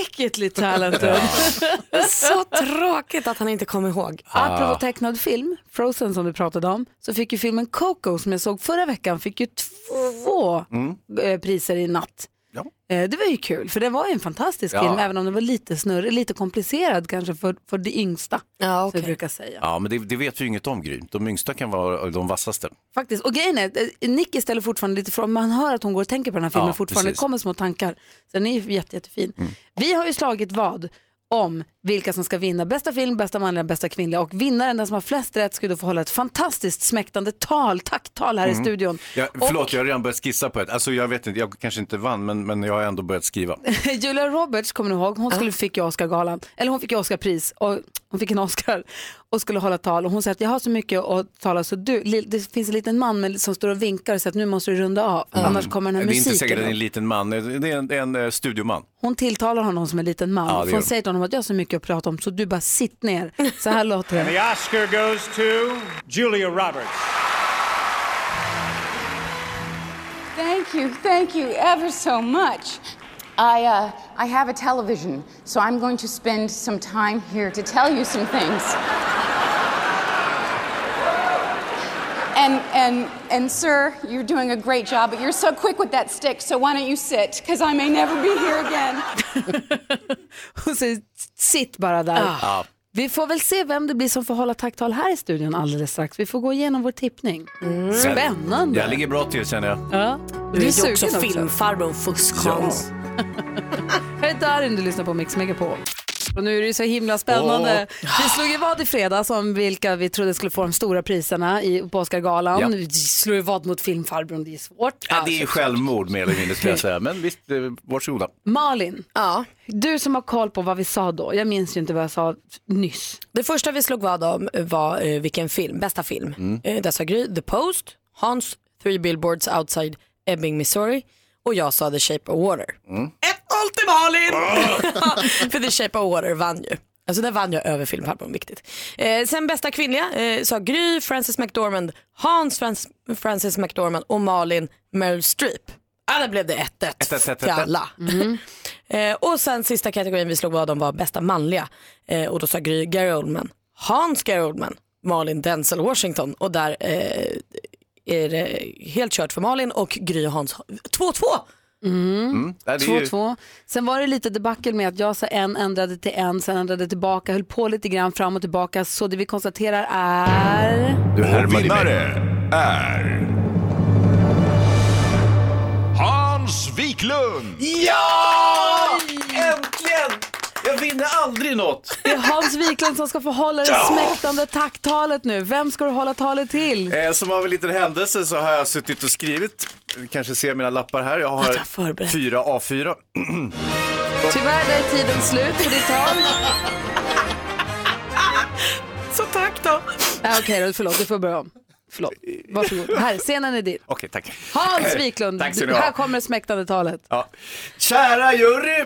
S2: wickedly talented.
S3: Så tråkigt att han inte kom ihåg.
S2: Apropå tecknad film, Frozen som du pratade om, så fick ju filmen Coco som jag såg förra veckan, fick ju två eh, priser i natt. Eh, Det var ju kul, för det var ju en fantastisk
S4: Ja.
S2: film, även om den var lite snurrig, lite komplicerad kanske för, för det yngsta, som vi brukar säga.
S4: Ja, men det, det vet vi inget om, Gry. De yngsta kan vara de vassaste.
S2: Faktiskt, och grejen är, eh, Nicky ställer fortfarande lite frågor, man hör att hon går och tänker på den här filmen
S4: Ja,
S2: fortfarande,
S4: precis. Mm.
S2: det kommer små tankar. Så den är ju jätte, jättefin. Vi har ju slagit vad om vilka som ska vinna bästa film, bästa manliga, bästa kvinnliga och vinnaren, den som har flest rätt, skulle då få hålla ett fantastiskt smäktande tal, tacktal här
S4: Mm.
S2: i studion.
S4: Ja, förlåt, jag har redan börjat skissa på ett. Alltså, jag vet inte, jag kanske inte vann, men, men jag har ändå börjat skriva.
S2: Julia Roberts, kommer ni ihåg, hon skulle fick ju Oscargalan, eller hon fick ju Oscarpris och hon fick en Oscar och skulle hålla tal och hon sa att jag har så mycket att tala så du, li- det finns en liten man med, som står och vinkar och säger att nu måste du runda av, annars kommer den
S4: Mm. det
S2: här
S4: är inte
S2: musiken.
S4: säkert att det är en liten man, det är en, det är en eh, studioman.
S2: Hon tilltalar honom som en liten man.
S4: Ja, det
S2: För
S4: gör
S2: hon
S4: hon.
S2: säger till honom att jag har så mycket att prata om så du bara sitt ner. Så här låter
S17: And the
S2: det.
S17: Oscar goes to Julia Roberts.
S1: Thank you, thank you ever so much. I, uh, I have a television, so I'm going to spend some time here to tell you some things. And, and, and, sir, you're doing a great job, but you're so quick with that stick, so why don't you sit? Because I may never be here again.
S2: Hon säger sitt bara där.
S4: Ja.
S2: Vi får väl se vem det blir som får hålla tacktal här i studion alldeles strax. Vi får gå igenom vår tippning. Spännande.
S4: Mm. Jag ligger bra till känner jag.
S2: Ja.
S3: Du är ju också
S2: filmfarbror och fuskhans. Här är Darin du lyssnar på Mix Megapol. Och nu är det ju så himla spännande. Vi slog ju vad i fredags om vilka vi trodde skulle få de stora priserna i, på Oscargalan.
S4: Ja.
S2: Vi slog ju vad mot filmfarbror, det är svårt.
S4: Ja, det är självmord mer eller mindre skulle jag säga, men visst, eh, varsågoda.
S2: Malin, ja. du som har koll på vad vi sa då. Jag minns ju inte vad jag sa nyss.
S3: Det första vi slog vad om var eh, vilken film, bästa film. Mm. Eh, där sa Gry, The Post, Hans, Three Billboards Outside Ebbing, Missouri och jag sa The Shape of Water. Allt i Malin! För The Shape of Water vann ju. Alltså där vann jag över filmfarbrorn, viktigt. Eh, sen bästa kvinnliga eh, sa Gry, Frances McDormand, Hans, Frans, Frances McDormand och Malin Meryl Streep. Ja, där blev det 1-1 till alla. Eh, och sen sista kategorin vi slog vad om var bästa manliga. Eh, och då sa Gry Gary Oldman, Hans Gary Oldman, Malin Denzel Washington och där eh, är det helt kört för Malin och Gry och Hans 2-2
S4: Mm. Ja, det är ju-
S2: 2-2. Sen var det lite debacle med att jag sa en, ändrade till en, sen ändrade tillbaka, höll på lite grann fram och tillbaka. Så det vi konstaterar är...
S4: Du härmade
S18: vinnare är... Hans Wiklund!
S4: Ja! Äntligen! Jag vinner aldrig något.
S2: Det är Hans Wiklund som ska få hålla det
S4: Ja.
S2: smäktande tacktalet nu. Vem ska du hålla talet till?
S4: Eh, som av en liten händelse så har jag suttit och skrivit, ni kanske ser mina lappar här, jag har fyra A4.
S2: Tyvärr där är tiden slut för ditt tal.
S10: Så tack då.
S2: Äh, Okej då, förlåt, du får börja om. Förlåt, varsågod. Här, scenen är din.
S4: Okej, tack.
S2: Hans Wiklund,
S4: Tack ska ni
S2: här
S4: ha.
S2: kommer det smäktande talet.
S4: Ja. Kära jury!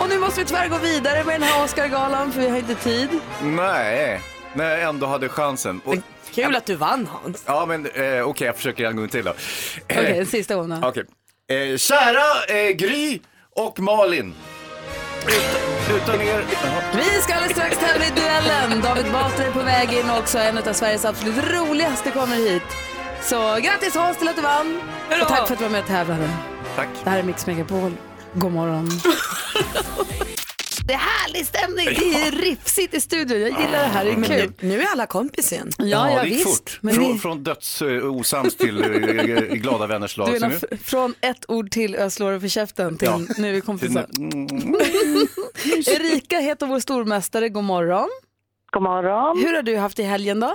S2: Och nu måste vi tyvärr gå vidare med den här Oscargalan för vi har inte tid.
S4: Nej, när jag ändå hade chansen. Och,
S3: Kul att du vann Hans.
S4: ja, men eh, okej, jag försöker en gång till då. Eh,
S2: Okej, en sista gång då.
S4: Okej. Eh, kära eh, Gry och Malin. Utan, utan er...
S2: Vi ska alldeles strax tävla i duellen. David Batra är på väg in också, en av Sveriges absolut roligaste kommer hit. Så grattis Hans till att du vann och tack för att du var med och tävlade.
S4: Tack.
S2: Det här är Mix Megapol. God morgon. Det är härlig stämning, det är rifsigt i studion. Jag gillar det här, det är
S3: Men
S2: kul.
S3: nu, nu är alla kompis igen.
S2: Ja, ja,
S4: det gick
S2: visst.
S4: fort.
S2: Men
S4: från,
S2: ni-
S4: från dödsosams till eh, glada vänners lag.
S2: Du
S4: Ser
S2: menar
S4: ni?
S2: f- från ett ord till jag slår dig för käften till
S4: Ja.
S2: nu är vi kompisar.
S4: Till Mm.
S2: Mm. Erika heter vår stormästare, god morgon. God morgon. Hur har du haft i helgen då?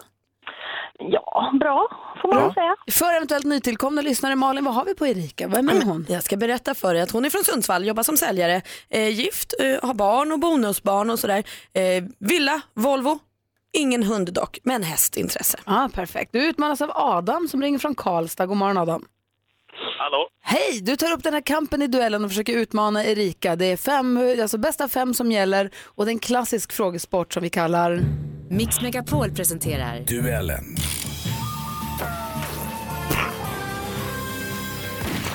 S2: Ja, bra får man säga. För eventuellt nytillkomna lyssnare, Malin, vad har vi på Erika? Vem är hon?
S3: Jag ska berätta för dig att hon är från Sundsvall, jobbar som säljare, eh, gift, eh, har barn och bonusbarn och sådär. Eh, villa, Volvo, ingen hund dock, men hästintresse.
S2: Ah, perfekt. Du utmanas av Adam som ringer från Karlstad. God morgon Adam.
S19: Hallå?
S2: Hej, du tar upp den här kampen i duellen och försöker utmana Erika. Det är fem, alltså bästa fem som gäller och det är en klassisk frågesport som vi kallar...
S6: Mix Megapol presenterar
S20: Duellen.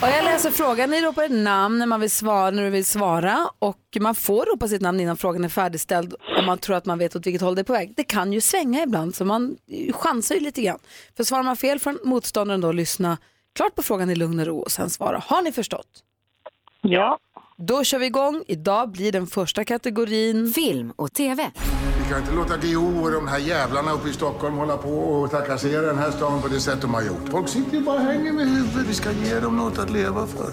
S2: Och jag läser frågan, ni ropar ett namn när, man vill svara, när du vill svara och man får ropa sitt namn innan frågan är färdigställd om man tror att man vet åt vilket håll det är på väg. Det kan ju svänga ibland så man chansar ju lite grann. För svarar man fel får motståndaren då lyssna klart på frågan i lugn och ro och sen svara. Har ni förstått? Ja. Då kör vi igång. Idag blir den första kategorin
S6: film och tv.
S21: Vi kan inte låta DO och de här jävlarna uppe i Stockholm hålla på och trakassera den här stan på det sätt de har gjort. Folk sitter ju bara och hänger med huvudet. Vi ska ge dem något att leva för.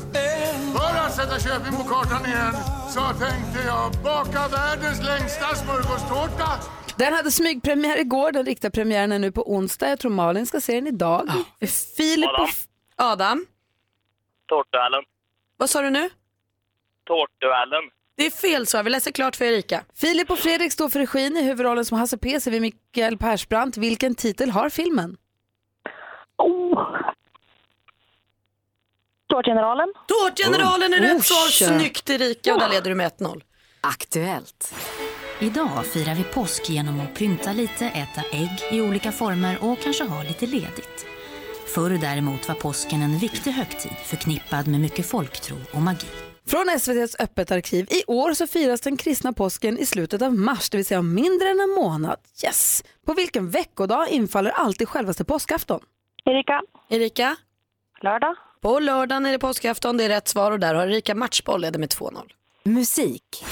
S21: För att sätta Köping på kartan igen så tänkte jag baka världens längsta smörgåstårta.
S2: Den hade smygpremiär igår, den riktiga premiären är nu på onsdag. Jag tror Malin ska se den idag. Filip och...
S19: Adam.
S3: Adam,
S19: Tårtduellen.
S3: vad sa du nu?
S19: Tårtduellen.
S3: Det är fel svar, vi läser klart för Erika.
S2: Filip och Fredrik står för regin i huvudrollen som Hasse P. vid Mikael Persbrandt. Vilken titel har filmen?
S7: Oh.
S22: Tårtgeneralen.
S3: Tårtgeneralen är
S22: Oh.
S3: rätt
S22: Oh,
S3: svar,
S22: tja.
S3: snyggt Erika och där leder du med 1-0.
S23: Aktuellt. Idag firar vi påsk genom att prynta lite, äta ägg i olika former och kanske ha lite ledigt. Förr däremot var påsken en viktig högtid förknippad med mycket folktro och magi.
S2: Från SVTs Öppet arkiv. I år så firas den kristna påsken i slutet av mars, det vill säga om mindre än en månad. Yes! På vilken veckodag infaller alltid självaste påskafton?
S3: Erika. Erika. Lördag. På lördagen är det påskafton, det är rätt svar och där har Erika matchboll, leder med 2-0.
S6: Musik.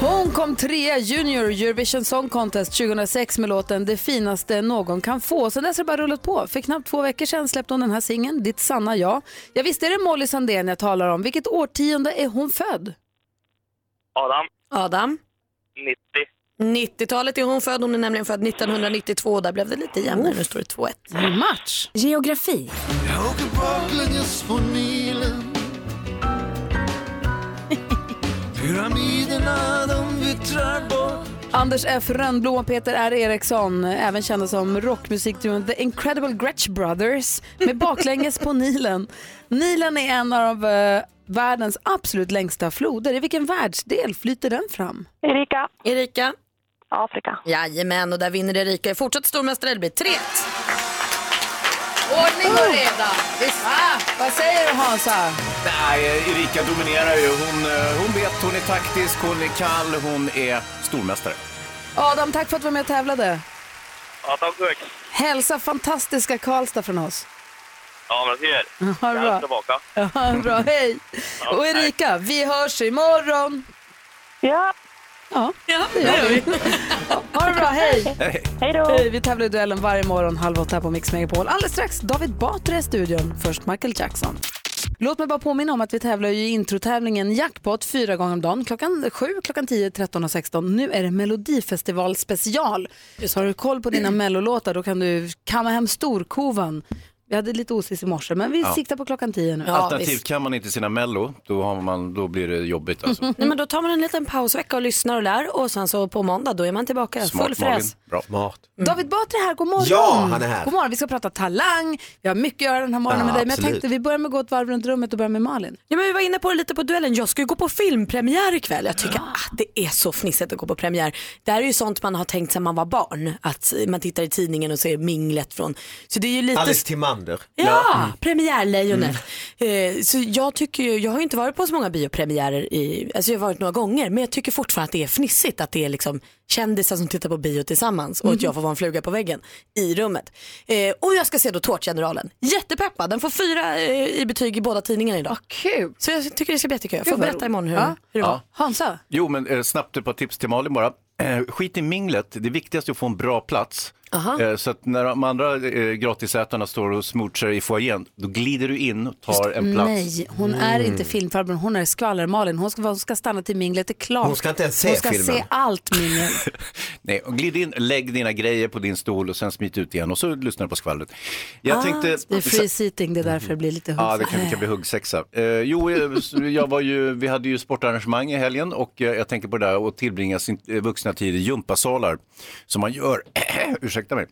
S2: Hon kom trea Junior i Eurovision Song Contest 2006 med låten Det finaste någon kan få. Sen dess har det bara rullat på. För knappt två veckor sedan släppte hon den här singeln, Ditt sanna jag. Ja, visst är det Molly Sandén jag talar om. Vilket årtionde är hon född?
S19: Adam.
S3: Adam.
S19: 90.
S3: 90-talet är hon född, hon är nämligen född 1992 och där blev det lite jämnare, nu står det 2-1.
S2: Match.
S6: Geografi.
S5: Jag åker baklänges på Nilen Pyramiderna de vittrar bort
S2: Anders F. Rönnblom och Peter R. Eriksson, även kända som rockmusikduon The Incredible Gretsch Brothers, med baklänges på Nilen. Nilen är en av eh, världens absolut längsta floder. I vilken världsdel flyter den fram?
S3: Erika. Erika. Afrika. Jajamän, och där vinner Erika. Är fortsatt stormästare, det blir 3
S2: Ordning och reda. Ah. Va? Oh, Vad säger du Hansa?
S4: Nej, Erika dominerar ju. Hon, eh, hon vet, hon är taktisk, hon är kall, hon är stormästare.
S2: Adam, tack för att du var med och tävlade.
S19: Ja, tack så mycket.
S2: Hälsa fantastiska Karlstad från oss.
S19: Ja, men ser.
S2: Ha det
S19: Jag är
S2: bra.
S19: tillbaka.
S2: Ja, bra, hej.
S19: Ja,
S2: Och Erika, vi hörs imorgon. Ja. Ja, det gör vi. Ja, Ha det bra, hej. Hej då. Vi tävlar i duellen varje morgon halv åtta här på Mix Megapol. Alldeles strax David Batra i studion. Först Michael Jackson. Låt mig bara påminna om att vi tävlar ju i introtävlingen Jackpot fyra gånger om dagen. Klockan 7, klockan 10, 13 och 16. Nu är det Melodifestival special. Så har du koll på dina mellolåtar då kan du kamma hem storkovan. Vi hade lite osis i morse men vi
S4: Ja.
S2: siktar på klockan 10 nu.
S4: Alternativt kan man inte sina mello, då, har man, då blir det jobbigt. Alltså.
S3: Nej, men då tar man en liten pausvecka och lyssnar och lär och sen så på måndag då är man tillbaka full
S4: Smart Malin.
S3: fräs.
S4: Bra. Smart.
S2: David Batra är här, god morgon!
S4: Mm. Ja, han är här.
S2: God morgon. Vi ska prata talang, vi har mycket att göra den här morgonen
S3: Ja,
S2: med dig. Men jag
S3: absolut.
S2: tänkte vi börjar med att gå ett varv runt rummet och börjar med Malin.
S3: Ja, men vi var inne på det lite på duellen. Jag ska ju gå på filmpremiär ikväll. Jag tycker att det är så fnissigt att gå på premiär. Det här är ju sånt man har tänkt sedan man var barn. Att man tittar i tidningen och ser minglet från. Så det är ju lite...
S24: Alice Timander.
S3: Ja, premiärlejonet.
S2: Mm.
S3: Eh, så jag tycker ju, jag har ju inte varit på så många biopremiärer, i, alltså jag har varit några gånger, men jag tycker fortfarande att det är fnissigt att det är liksom kändisar som tittar på bio tillsammans och
S2: Mm.
S3: att jag får vara en fluga på väggen i rummet. Eh, och jag ska se då Tårtgeneralen. Jättepeppad, den får fyra eh, i betyg i båda tidningarna idag.
S2: Kul.
S3: Så jag tycker det ska bli jättekul. Jag
S2: Gud,
S3: får
S2: vad
S3: berätta
S2: roligt.
S3: imorgon hur,
S2: Ja.
S3: hur det var.
S4: Ja.
S2: Hansa?
S4: Jo, men eh, snabbt ett par tips till Malin bara. Eh, skit i minglet, det viktigaste är att få en bra plats.
S3: Aha.
S4: Eh, så att när de andra eh, gratisätarna står och smortsar i foajén, då glider du in och tar en plats.
S2: Nej, hon är
S4: Mm.
S2: inte filmfarbrorn, hon är skvaller-Malin. Hon ska, hon ska stanna till minglet är klart.
S4: Hon ska inte ens se
S2: Hon ska
S4: filmen.
S2: se allt mingel.
S4: Nej, och glid in, lägg dina grejer på din stol och sen smit ut igen och så lyssnar du på skvallret. Jag tänkte...
S2: Ah, Det är free seating, det är därför det blir lite
S4: Ja, det kan, det kan bli huggsexa. Eh, jo, eh, så jag var ju, vi hade ju sportarrangemang i helgen och eh, jag tänker på det där att tillbringa sin eh, vuxna tid i gympasalar som man gör, ursäkta mig,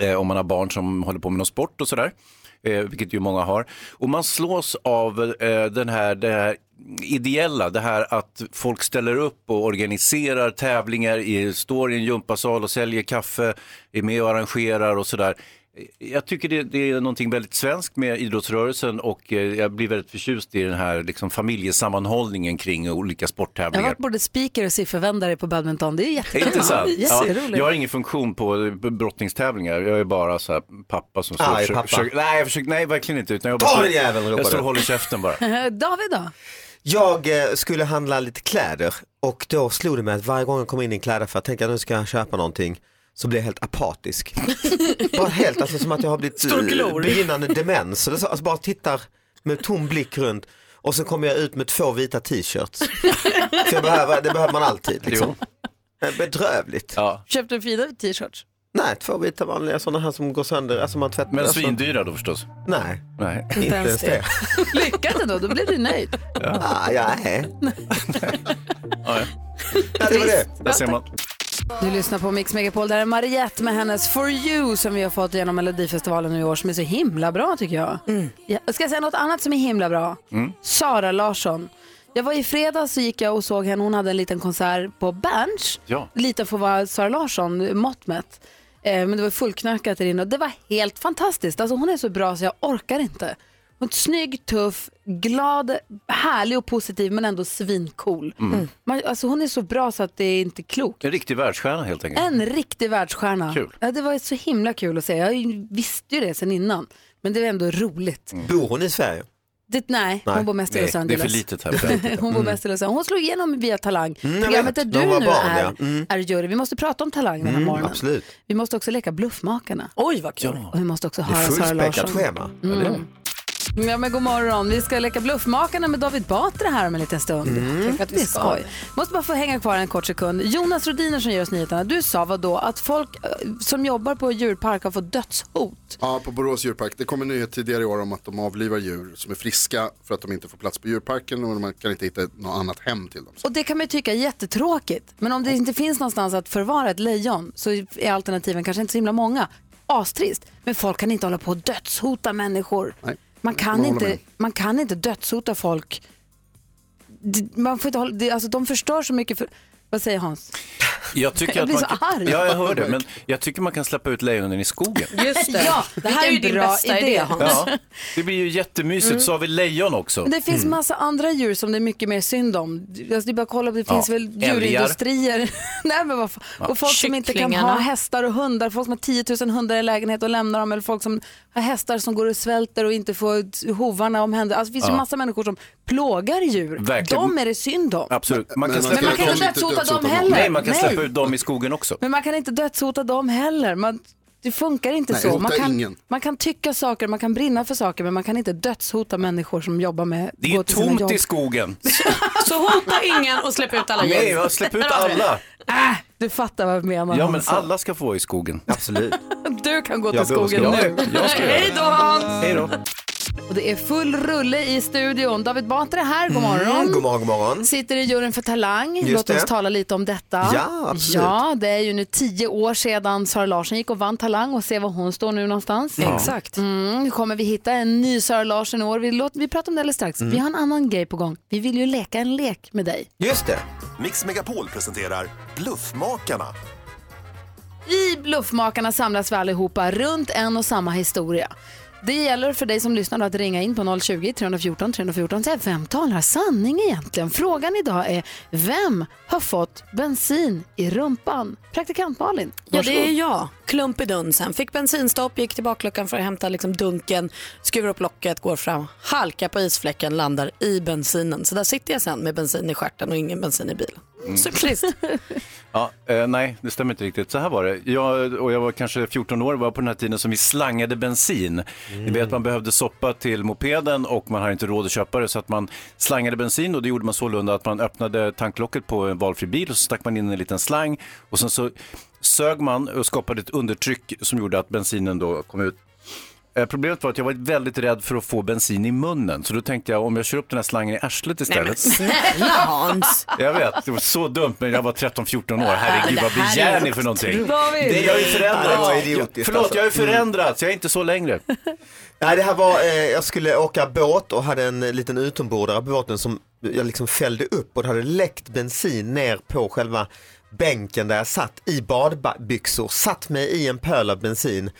S4: eh, om man har barn som håller på med någon sport och sådär, eh, vilket ju många har. Och man slås av eh, den här, det här ideella, det här att folk ställer upp och organiserar tävlingar, i, står i en gympasal och säljer kaffe, är med och arrangerar och sådär. Eh, Jag tycker det, det är någonting väldigt svenskt med idrottsrörelsen och eh, jag blir väldigt förtjust i den här liksom, familjesammanhållningen kring olika
S2: Jag har
S4: sporttävlingar.
S2: varit både speaker och siffervändare på badminton. Det är
S4: Det är
S2: jättekul.
S4: Intressant. Ja.
S2: Jätteroligt.
S4: Jag har ingen funktion på brottningstävlingar. Jag är bara så här pappa som står
S24: Aj,
S4: försöker-
S24: pappa.
S4: försöker- Nej, jag försöker, nej, verkligen inte. Utan jag
S24: Ta
S4: bara,
S24: den jäveln, ropar
S4: Jag står
S24: du.
S4: och håller käften bara.
S2: David då?
S24: Jag eh, skulle handla lite kläder och då slog det mig att varje gång jag kom in i en klädaffär och tänkte att nu ska jag köpa någonting så blir jag helt apatisk. bara helt, alltså som att jag har blivit
S5: Stor
S24: eh,
S5: glor.
S24: begynnande demens. Så det är så- Alltså bara tittar med tom blick runt och så kommer jag ut med två vita t-shirts. För jag behöver, det behöver man alltid. Liksom. Eh, Bedrövligt.
S2: Köpte du fina t-shirts?
S24: Nej, två vita vanliga sådana här som går sönder, alltså man tvättar.
S4: Men
S24: alltså,
S4: svindyra då förstås?
S24: Nej,
S4: Nej.
S24: inte ens det.
S2: Lyckat ändå, då blev du nöjd.
S24: Ah, ja, nej.
S4: Ja,
S24: ja. Det var det.
S4: Där ser man.
S2: Du lyssnar på Mix Megapol. Där är Mariette med hennes For You som vi har fått genom Melodifestivalen nu i år som är så himla bra tycker jag. Ja, ska jag säga något annat som är himla bra?
S5: Mm.
S2: Sara Larsson. Jag var i fredags så gick jag och såg henne. Hon hade en liten konsert på Berns.
S5: Ja.
S2: Lite för vad Sara Larsson mått mätt. Eh, men det var fullknökat där inne och det var helt fantastiskt. Alltså hon är så bra så jag orkar inte. Hon är snygg, tuff, glad, härlig och positiv men ändå svincool.
S4: Mm.
S2: Man, alltså hon är så bra så att det är inte klokt.
S4: En riktig världsstjärna helt enkelt.
S2: En riktig världsstjärna.
S4: Kul.
S2: Ja, det var så himla kul att se. Jag visste ju det sen innan. Men det var ändå roligt.
S24: Bor hon i Sverige?
S2: Det, nej,
S24: Mm. Nej,
S2: hon bor mest i
S24: nej,
S2: Los
S24: det är
S2: Angeles.
S24: för litet här. Det är för litet.
S2: hon bor
S24: Mm.
S2: mest i Los Angeles. Hon slog igenom via Talang.
S24: Mm, jag
S2: Programmet där
S24: vet.
S2: du
S24: När hon var
S2: nu
S24: barn,
S2: är,
S24: ja. Mm.
S2: är jury. Vi måste prata om Talang den här
S24: Mm,
S2: morgonen.
S24: absolut.
S2: Vi måste också leka Bluffmakarna.
S3: Oj, vad kul.
S2: Och vi måste också
S24: Det är
S2: höra Sara Larsson.
S24: fullspäckat schema,
S2: Mm.
S24: eller?
S2: Ja, men god morgon. Vi ska leka Bluffmakarna med David Batra här om en liten stund.
S3: Mm.
S2: Tänk att det är skoj. Måste bara få hänga kvar en kort sekund. Jonas Rodiner som ger oss nyheterna. Du sa vad då att folk eh, som jobbar på djurpark har fått dödshot.
S25: Ja, på Borås djurpark. Det kom en nyhet tidigare i år om att de avlivar djur som är friska för att de inte får plats på djurparken och man kan inte hitta något annat hem till dem.
S2: Och det kan man ju tycka är jättetråkigt. Men om det inte finns någonstans att förvara ett lejon så är alternativen kanske inte så himla många. Astrist. Men folk kan inte hålla på och dödshota människor. Man
S25: jag
S2: kan,
S25: håller
S2: inte,
S25: med.
S2: man kan inte dödshota folk. D- Man får inte hålla, det, alltså, de förstör så mycket. För, vad säger Hans?
S4: Jag, tycker
S2: Jag
S4: att
S2: blir
S4: man
S2: så
S4: kan,
S2: arg.
S4: Ja, jag hör det, men jag tycker man kan släppa ut lejonen i skogen.
S2: Just det. Ja, det här är ju
S3: Vilken
S2: din
S3: bra
S2: bästa idé,
S3: idé,
S2: Hans.
S4: Ja, det blir ju jättemysigt.
S2: Mm.
S4: Så har vi lejon också.
S2: Men det finns
S4: Mm.
S2: massa andra djur som det är mycket mer synd om. Alltså, det är bara att kolla, det
S4: Ja,
S2: finns väl
S4: älgar.
S2: djurindustrier. Nej, men vad fan.
S4: Ja.
S2: Och folk som inte kan
S3: Kycklingarna.
S2: ha hästar och hundar, folk som har 10 000 hundar i lägenhet och lämnar dem, eller folk som har hästar som går och svälter och inte får hovarna omhändertagna. Alltså, det finns ju
S4: Ja.
S2: massa människor som plågar djur.
S4: Verkligen.
S2: De är det synd om.
S4: Absolut.
S2: Men man kan inte dödshota dem heller.
S4: Nej, man kan
S2: Nej.
S4: släppa ut dem i skogen också.
S2: Men man kan inte dödshota dem heller. Man, det funkar inte
S4: Nej,
S2: så.
S4: hota
S2: Man kan,
S4: ingen.
S2: man kan tycka saker, man kan brinna för saker, men man kan inte dödshota människor som jobbar med
S4: Det är ju
S2: går till sina jobb.
S4: tomt i skogen.
S3: Så hota ingen och släpp ut alla djur.
S4: Nej, jag släpp ut
S3: Där har vi det.
S4: alla.
S2: Äh, Du fattar vad jag menar.
S4: Ja, men
S2: Hansa.
S4: alla ska få vara i skogen. Absolut.
S2: Du kan gå till
S4: Jag behöver
S2: skogen
S4: ska-
S2: nu.
S4: Ja, jag ska göra det.
S2: Hej då Hans!
S4: Hej då.
S2: Och det är full rulle i studion. David Batra är här, god
S24: Mm,
S2: morgon.
S24: god morgon, god morgon.
S2: Sitter i juryn för Talang.
S24: Just
S2: Låt oss
S24: det.
S2: tala lite om detta.
S24: Ja, absolut.
S2: Ja, det är ju nu tio år sedan Sara Larsson gick och vann Talang och se var hon står nu någonstans.
S3: Ja. Exakt.
S2: Mm, kommer vi hitta en ny Sara Larsson i år? Vi, låter, vi pratar om det alldeles strax.
S12: Mm.
S2: Vi har en annan grej på gång. Vi vill ju leka en lek med dig.
S12: Just det. Mix Megapol presenterar Bluffmakarna.
S2: I Bluffmakarna samlas vi allihopa runt en och samma historia. Det gäller för dig som lyssnar då att ringa in på 020-314 314. Så här, Vem talar sanning egentligen? Frågan idag är vem har fått bensin i rumpan? Praktikant Malin,
S3: Ja,
S2: varsågod.
S3: det är jag. Klump i dunsen. Fick bensinstopp, gick till bakluckan för att hämta liksom dunken, skruvar upp locket, går fram, halkar på isfläcken, landar i bensinen. Så där sitter jag sen med bensin i stjärten och ingen bensin i bilen.
S4: Mm.
S3: Så trist.
S4: Ja, eh, nej, det stämmer inte riktigt. Så här var det. Jag, och jag var kanske 14 år, var på den här tiden som vi slangade bensin. Ni vet, man behövde soppa till mopeden och man hade inte råd att köpa det. Så att man slangade bensin och det gjorde man sålunda att man öppnade tanklocket på en valfri bil och så stack man in en liten slang och sen så sög man och skapade ett undertryck som gjorde att bensinen då kom ut. Eh, Problemet var att jag var väldigt rädd för att få bensin i munnen, så då tänkte jag om jag kör upp den här slangen i arslet
S3: Nej, men
S4: istället.
S3: snälla Hans.
S4: Jag vet, det var så dumt, men jag var 13-14 år. Herregud,
S3: Det
S4: vad
S3: här
S4: begär
S3: är
S4: ni för någonting?
S24: otroligt. David!
S4: Det jag har ju
S24: Det var
S4: förändrats.
S24: idiotiskt,
S4: Jag- Förlåt,
S24: alltså.
S4: jag har ju förändrats. Jag är inte så längre.
S24: Nej, det här var, eh, jag skulle åka båt och hade en liten utombordare på båten som jag liksom fällde upp och det hade läckt bensin ner på själva bänken där jag satt i badbyxor, satt mig i en pöl av bensin,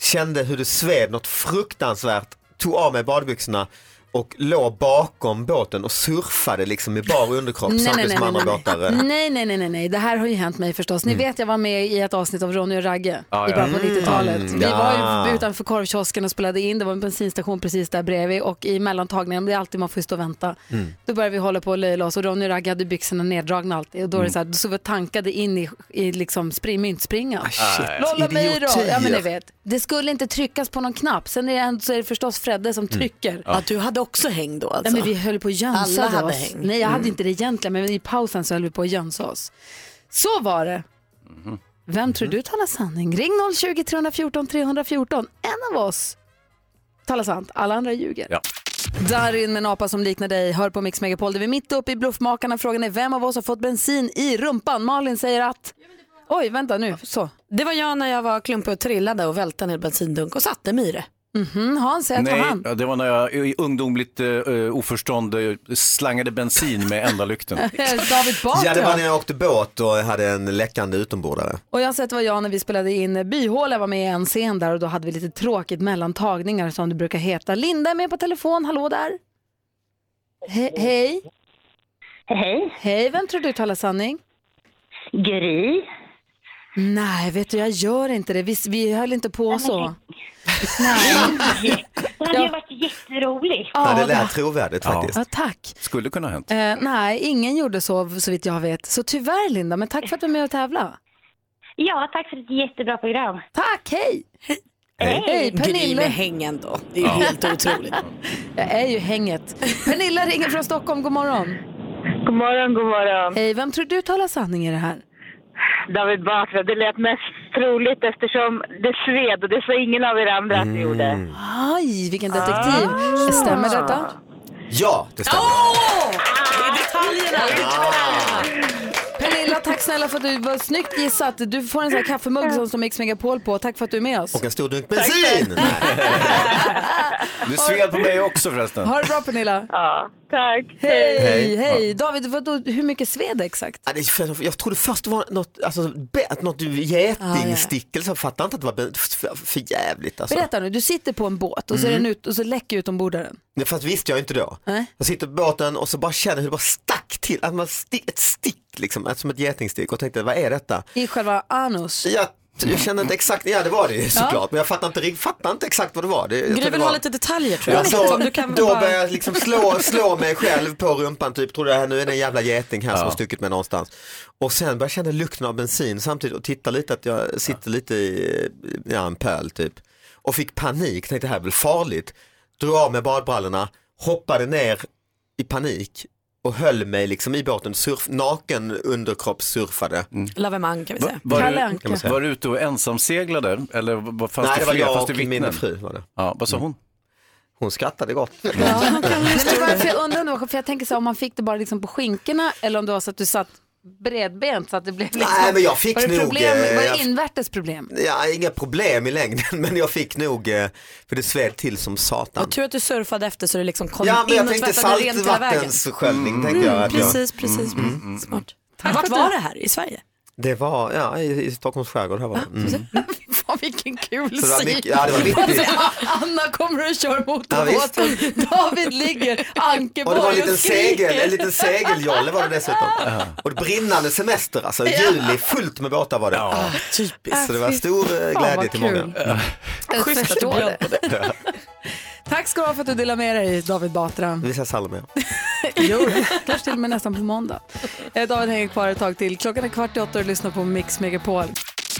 S24: kände hur det sved något fruktansvärt, tog av mig badbyxorna och låg bakom båten och surfade liksom i bar underkropp samtidigt som andra båtar. eh,
S2: nej, Mm. nej, nej, nej, nej, det här har ju hänt mig förstås.
S4: Mm.
S2: Ni vet jag var med i ett avsnitt av Ronny och Ragge
S24: Ja,
S2: i
S24: ja.
S2: början på
S24: Mm.
S2: 90-talet.
S24: Mm,
S2: Vi var
S24: ja.
S2: ju utanför korvkiosken och spelade in, det var en bensinstation precis där bredvid och i mellantagningen, det är alltid man får stå och vänta.
S5: Mm.
S2: Då började vi hålla på och löjla oss och Ronny och Ragge hade byxorna neddragna alltid och då, är det
S5: Mm.
S2: så här, då stod vi och tankade in i, i liksom spring, myntspringan.
S5: shit.
S2: Lolla mig då! Ja, men ni
S5: Idiotier.
S2: vet. Det skulle inte tryckas på någon knapp, sen är det, ändå- så är det förstås Fredde som trycker.
S3: Ja. du hade också häng då alltså?
S2: Nej, men vi höll på att jönsa
S3: Alla hade
S2: oss.
S3: häng.
S2: Nej, jag hade
S3: Mm.
S2: inte det egentligen, men i pausen så höll vi på att jönsa oss. Så var det. Vem tror du talar sanning? Ring 020 314 314. En av oss talar sant, alla andra ljuger.
S4: Ja.
S2: Darin med en apa som liknar dig hör på Mix Megapol. Där vi är mitt uppe i bluffmakarna. Frågan är vem av oss har fått bensin i rumpan? Malin säger att... Oj, vänta nu. Så.
S3: Det var jag när jag var klumpig och trillade och välte ner bensindunk och satte mig i det.
S2: Mhm, Hans säger att det var
S4: Nej,
S2: han.
S4: ja, det var när jag i ungdomligt eh, eh, oförstånd eh, slangade bensin med ändalykten.
S2: David Batra.
S24: Ja, det var när jag åkte båt och hade en läckande utombordare.
S2: Och jag har sett vad jag när vi spelade in Byhåla var med i en scen där och då hade vi lite tråkigt mellan tagningar som det brukar heta. Linda är med på telefon, hallå där. He- hej. Hej. Hej, vem tror du talar sanning? Gry. Nej, vet du jag gör inte det. Vi, vi höll inte på så. Nej.
S7: Det hade ju varit jätteroligt.
S24: Ja, det
S2: det-
S24: lät trovärdigt faktiskt.
S2: Ja, tack.
S4: Skulle kunna ha hänt.
S2: Eh, nej, ingen gjorde så, så vitt jag vet. Så tyvärr Linda, men tack för att du är med och tävla.
S7: Ja, tack för ett jättebra program.
S2: Tack, hej!
S7: Hej.
S2: Hej,
S7: Gry
S2: Pernilla.
S7: med
S3: hängen då.
S7: Det är ju helt
S3: otroligt.
S2: Jag är ju hänget. Pernilla ringer från Stockholm, god morgon. God morgon, god morgon. Hej, vem tror du talar sanning i det här?
S7: David Batra, det lät mest troligt eftersom det sved och det sa ingen av er andra att det gjorde.
S2: Aj, vilken detektiv. Stämmer detta?
S24: Ja, det stämmer.
S2: Pernilla, tack snälla för att du var snyggt gissat. Du får en sån här kaffemugg som står Mix Megapol på. Tack för att du är med oss.
S24: Och en stor dunk bensin!
S4: Du sved på mig också förresten.
S2: Ha det bra Pernilla.
S7: Ja. Tack.
S2: Hej, hej.
S24: Hej.
S2: David, vadå, hur mycket sved exakt?
S24: Ja, det är för- Jag trodde först det var något, alltså, bett, något getingstickelse, jag fattar inte att det var bet- för, för jävligt. Alltså.
S2: Berätta nu, du sitter på en båt och så, är
S24: Mm.
S2: den ut, och så läcker utombordaren.
S24: Nej, Fast visste jag inte då.
S2: Nej.
S24: Jag sitter på båten och så bara känner hur det bara stack till, att man sti- ett stick liksom, ett- som ett getingstick och tänkte vad är detta?
S2: I själva anus.
S24: Jag, jag kände inte exakt, ja det var det ju såklart, men jag fattar inte, rikt- fattar inte exakt vad det var. Det, jag tror
S3: Gry
S24: det
S3: vill
S24: var...
S3: ha lite detaljer tror
S24: Ja,
S3: jag.
S24: så,
S3: Som du kan
S24: då
S3: bara-
S24: började jag liksom slå, slå mig själv på rumpan, typ trodde jag nu är det en jävla geting här som har stuckit mig någonstans. Och sen började jag känna lukten av bensin samtidigt och titta lite att jag sitter lite i ja, en pöl typ. Och fick panik, tänkte det här är väl farligt. Drog av mig badbrallorna, hoppade ner i panik och höll mig liksom i båten, surf, naken underkroppssurfade.
S3: Mm. Lavemang kan vi säga.
S24: kan man säga.
S4: Var du ute och ensamseglade? Eller vad fanns
S24: Nej, det var
S4: fler?
S24: jag
S4: fanns det
S24: och min
S4: vittnen?
S24: fru var det.
S4: Ja, vad sa hon?
S24: Hon skrattade gott.
S2: Men det var varför jag undrar nu, för jag tänker så här, om man fick det bara liksom på skinkorna eller om det var så att du satt bredbent så att det blev liksom,
S24: Nej, men jag fick
S2: var det,
S24: nog,
S2: problem,
S24: eh,
S2: var det
S24: jag-
S2: invärtes problem?
S24: Ja, inga problem i längden men jag fick nog, eh, för det sved till som satan.
S3: Tur att du surfade efter så du liksom kom
S24: Ja men
S3: in
S24: jag
S3: och
S24: tänkte
S3: tvättade rent hela vägen.
S24: saltvattensköljning
S3: Mm.
S24: tänkte jag.
S3: Mm,
S24: Att jag
S3: precis, precis.
S24: mm,
S3: Smart. Vart var det här? I Sverige?
S24: Det var, ja i, i Stockholms skärgård här var det. Mm.
S2: Fan vilken kul
S24: Så det var
S2: syn.
S24: mycket- ja, det var riktigt.
S2: Anna kommer och kör
S24: Ja,
S2: motorbåten, David ligger
S24: Och det var en
S2: ankeborg
S24: liten
S2: och skriker.
S24: segel, en liten segeljolle var det dessutom. Och det brinnande semester alltså, juli fullt med båtar var det.
S3: typiskt.
S24: Så det var stor eh,
S2: Fan, vad
S24: glädje till många.
S2: Jag
S3: Schysst att du
S2: förstår
S3: bjöd
S2: det. Tack ska du ha för att du delar med dig David Batra.
S24: Vi ses Salomia.
S2: Jo, kanske till och med nästan på måndag. Eh, David hänger kvar ett tag till. Klockan är kvart i åtta och du lyssnar på Mix Megapol.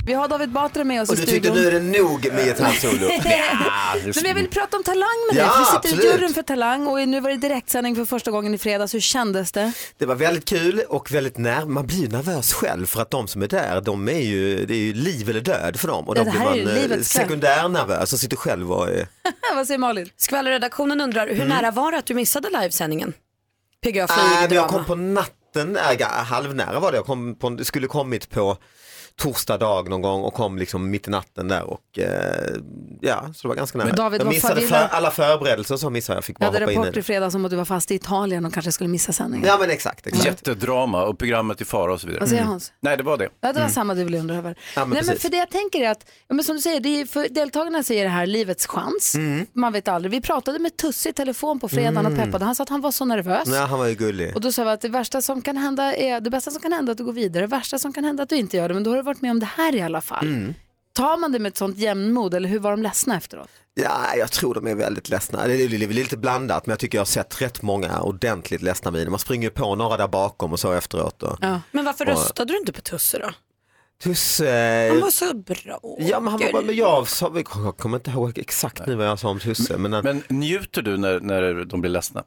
S2: Vi har David Batra med oss
S24: Och
S2: i
S24: du tyckte
S2: studion.
S24: nu är det nog med gitarrsolo?
S2: Nej, men jag vill prata om talang med dig.
S24: Ja,
S2: för du sitter i
S24: absolut.
S2: juryn för talang och nu var det direktsändning för första gången i fredags. Hur kändes det?
S24: Det var väldigt kul och väldigt när man blir ju nervös själv för att de som är där, de är ju, det är ju liv eller död för dem
S3: Ja,
S24: och då
S3: det
S24: blir
S3: här är
S24: man
S3: ju
S24: eh,
S3: livets kväll.
S24: sekundärnervös och sitter själv och är...
S2: Vad säger Malin?
S3: Skvallerredaktionen undrar, hur nära var det att du missade livesändningen? PGA
S24: Mm. Nej,
S3: Flyg
S24: men jag kom
S3: drama.
S24: på natten, äh, ga- halvnära var det, jag kom på, en- skulle kommit på torsdag dag någon gång och kom liksom mitt i natten där och eh, ja, så det var ganska nära.
S2: Men David,
S24: jag
S2: vad fan
S24: missade
S2: gillar-
S24: för, alla förberedelser och så missade jag, fick
S2: Jag
S24: bara
S2: hade
S24: hoppa in i
S2: Rapport i
S24: det.
S2: fredags om att du var fast i Italien och kanske skulle missa sändningen.
S24: Ja men exakt, exakt.
S4: Jättedrama och programmet i fara och så vidare. Mm.
S2: Vad säger Hans?
S4: Nej, det var det.
S2: Ja, det
S24: Mm.
S2: var samma du ville undra över.
S4: Ja, men
S2: Nej, men
S4: precis.
S2: för det jag tänker är att, ja, men som du säger, det är, för deltagarna säger det här, livets chans. Man vet aldrig. Vi pratade med Tusse i telefon på fredagen och
S24: Mm.
S2: peppade. Han sa att han var så nervös.
S24: Ja, han var ju gullig.
S2: Och då sa vi att det värsta som kan hända är, det bästa som kan hända är att du går vidare, det värsta som kan hända är att du inte gör det, men då har du varit med om det här i alla fall.
S24: Mm.
S2: Tar man det med ett sånt jämnmod eller hur var de ledsna efteråt?
S24: Ja, jag tror de är väldigt ledsna. Det är, det är väl lite blandat men jag tycker jag har sett rätt många ordentligt ledsna miner. Man springer ju på några där bakom och så efteråt. Och...
S3: Men varför
S24: Och-
S3: röstade du inte på Tusse då?
S24: Tusse...
S3: Han var så bra.
S24: Ja men han var bara, men jag, sa, jag kommer inte ihåg exakt nu vad jag sa om Tusse. Men,
S4: Men njuter du när, när de blir ledsna?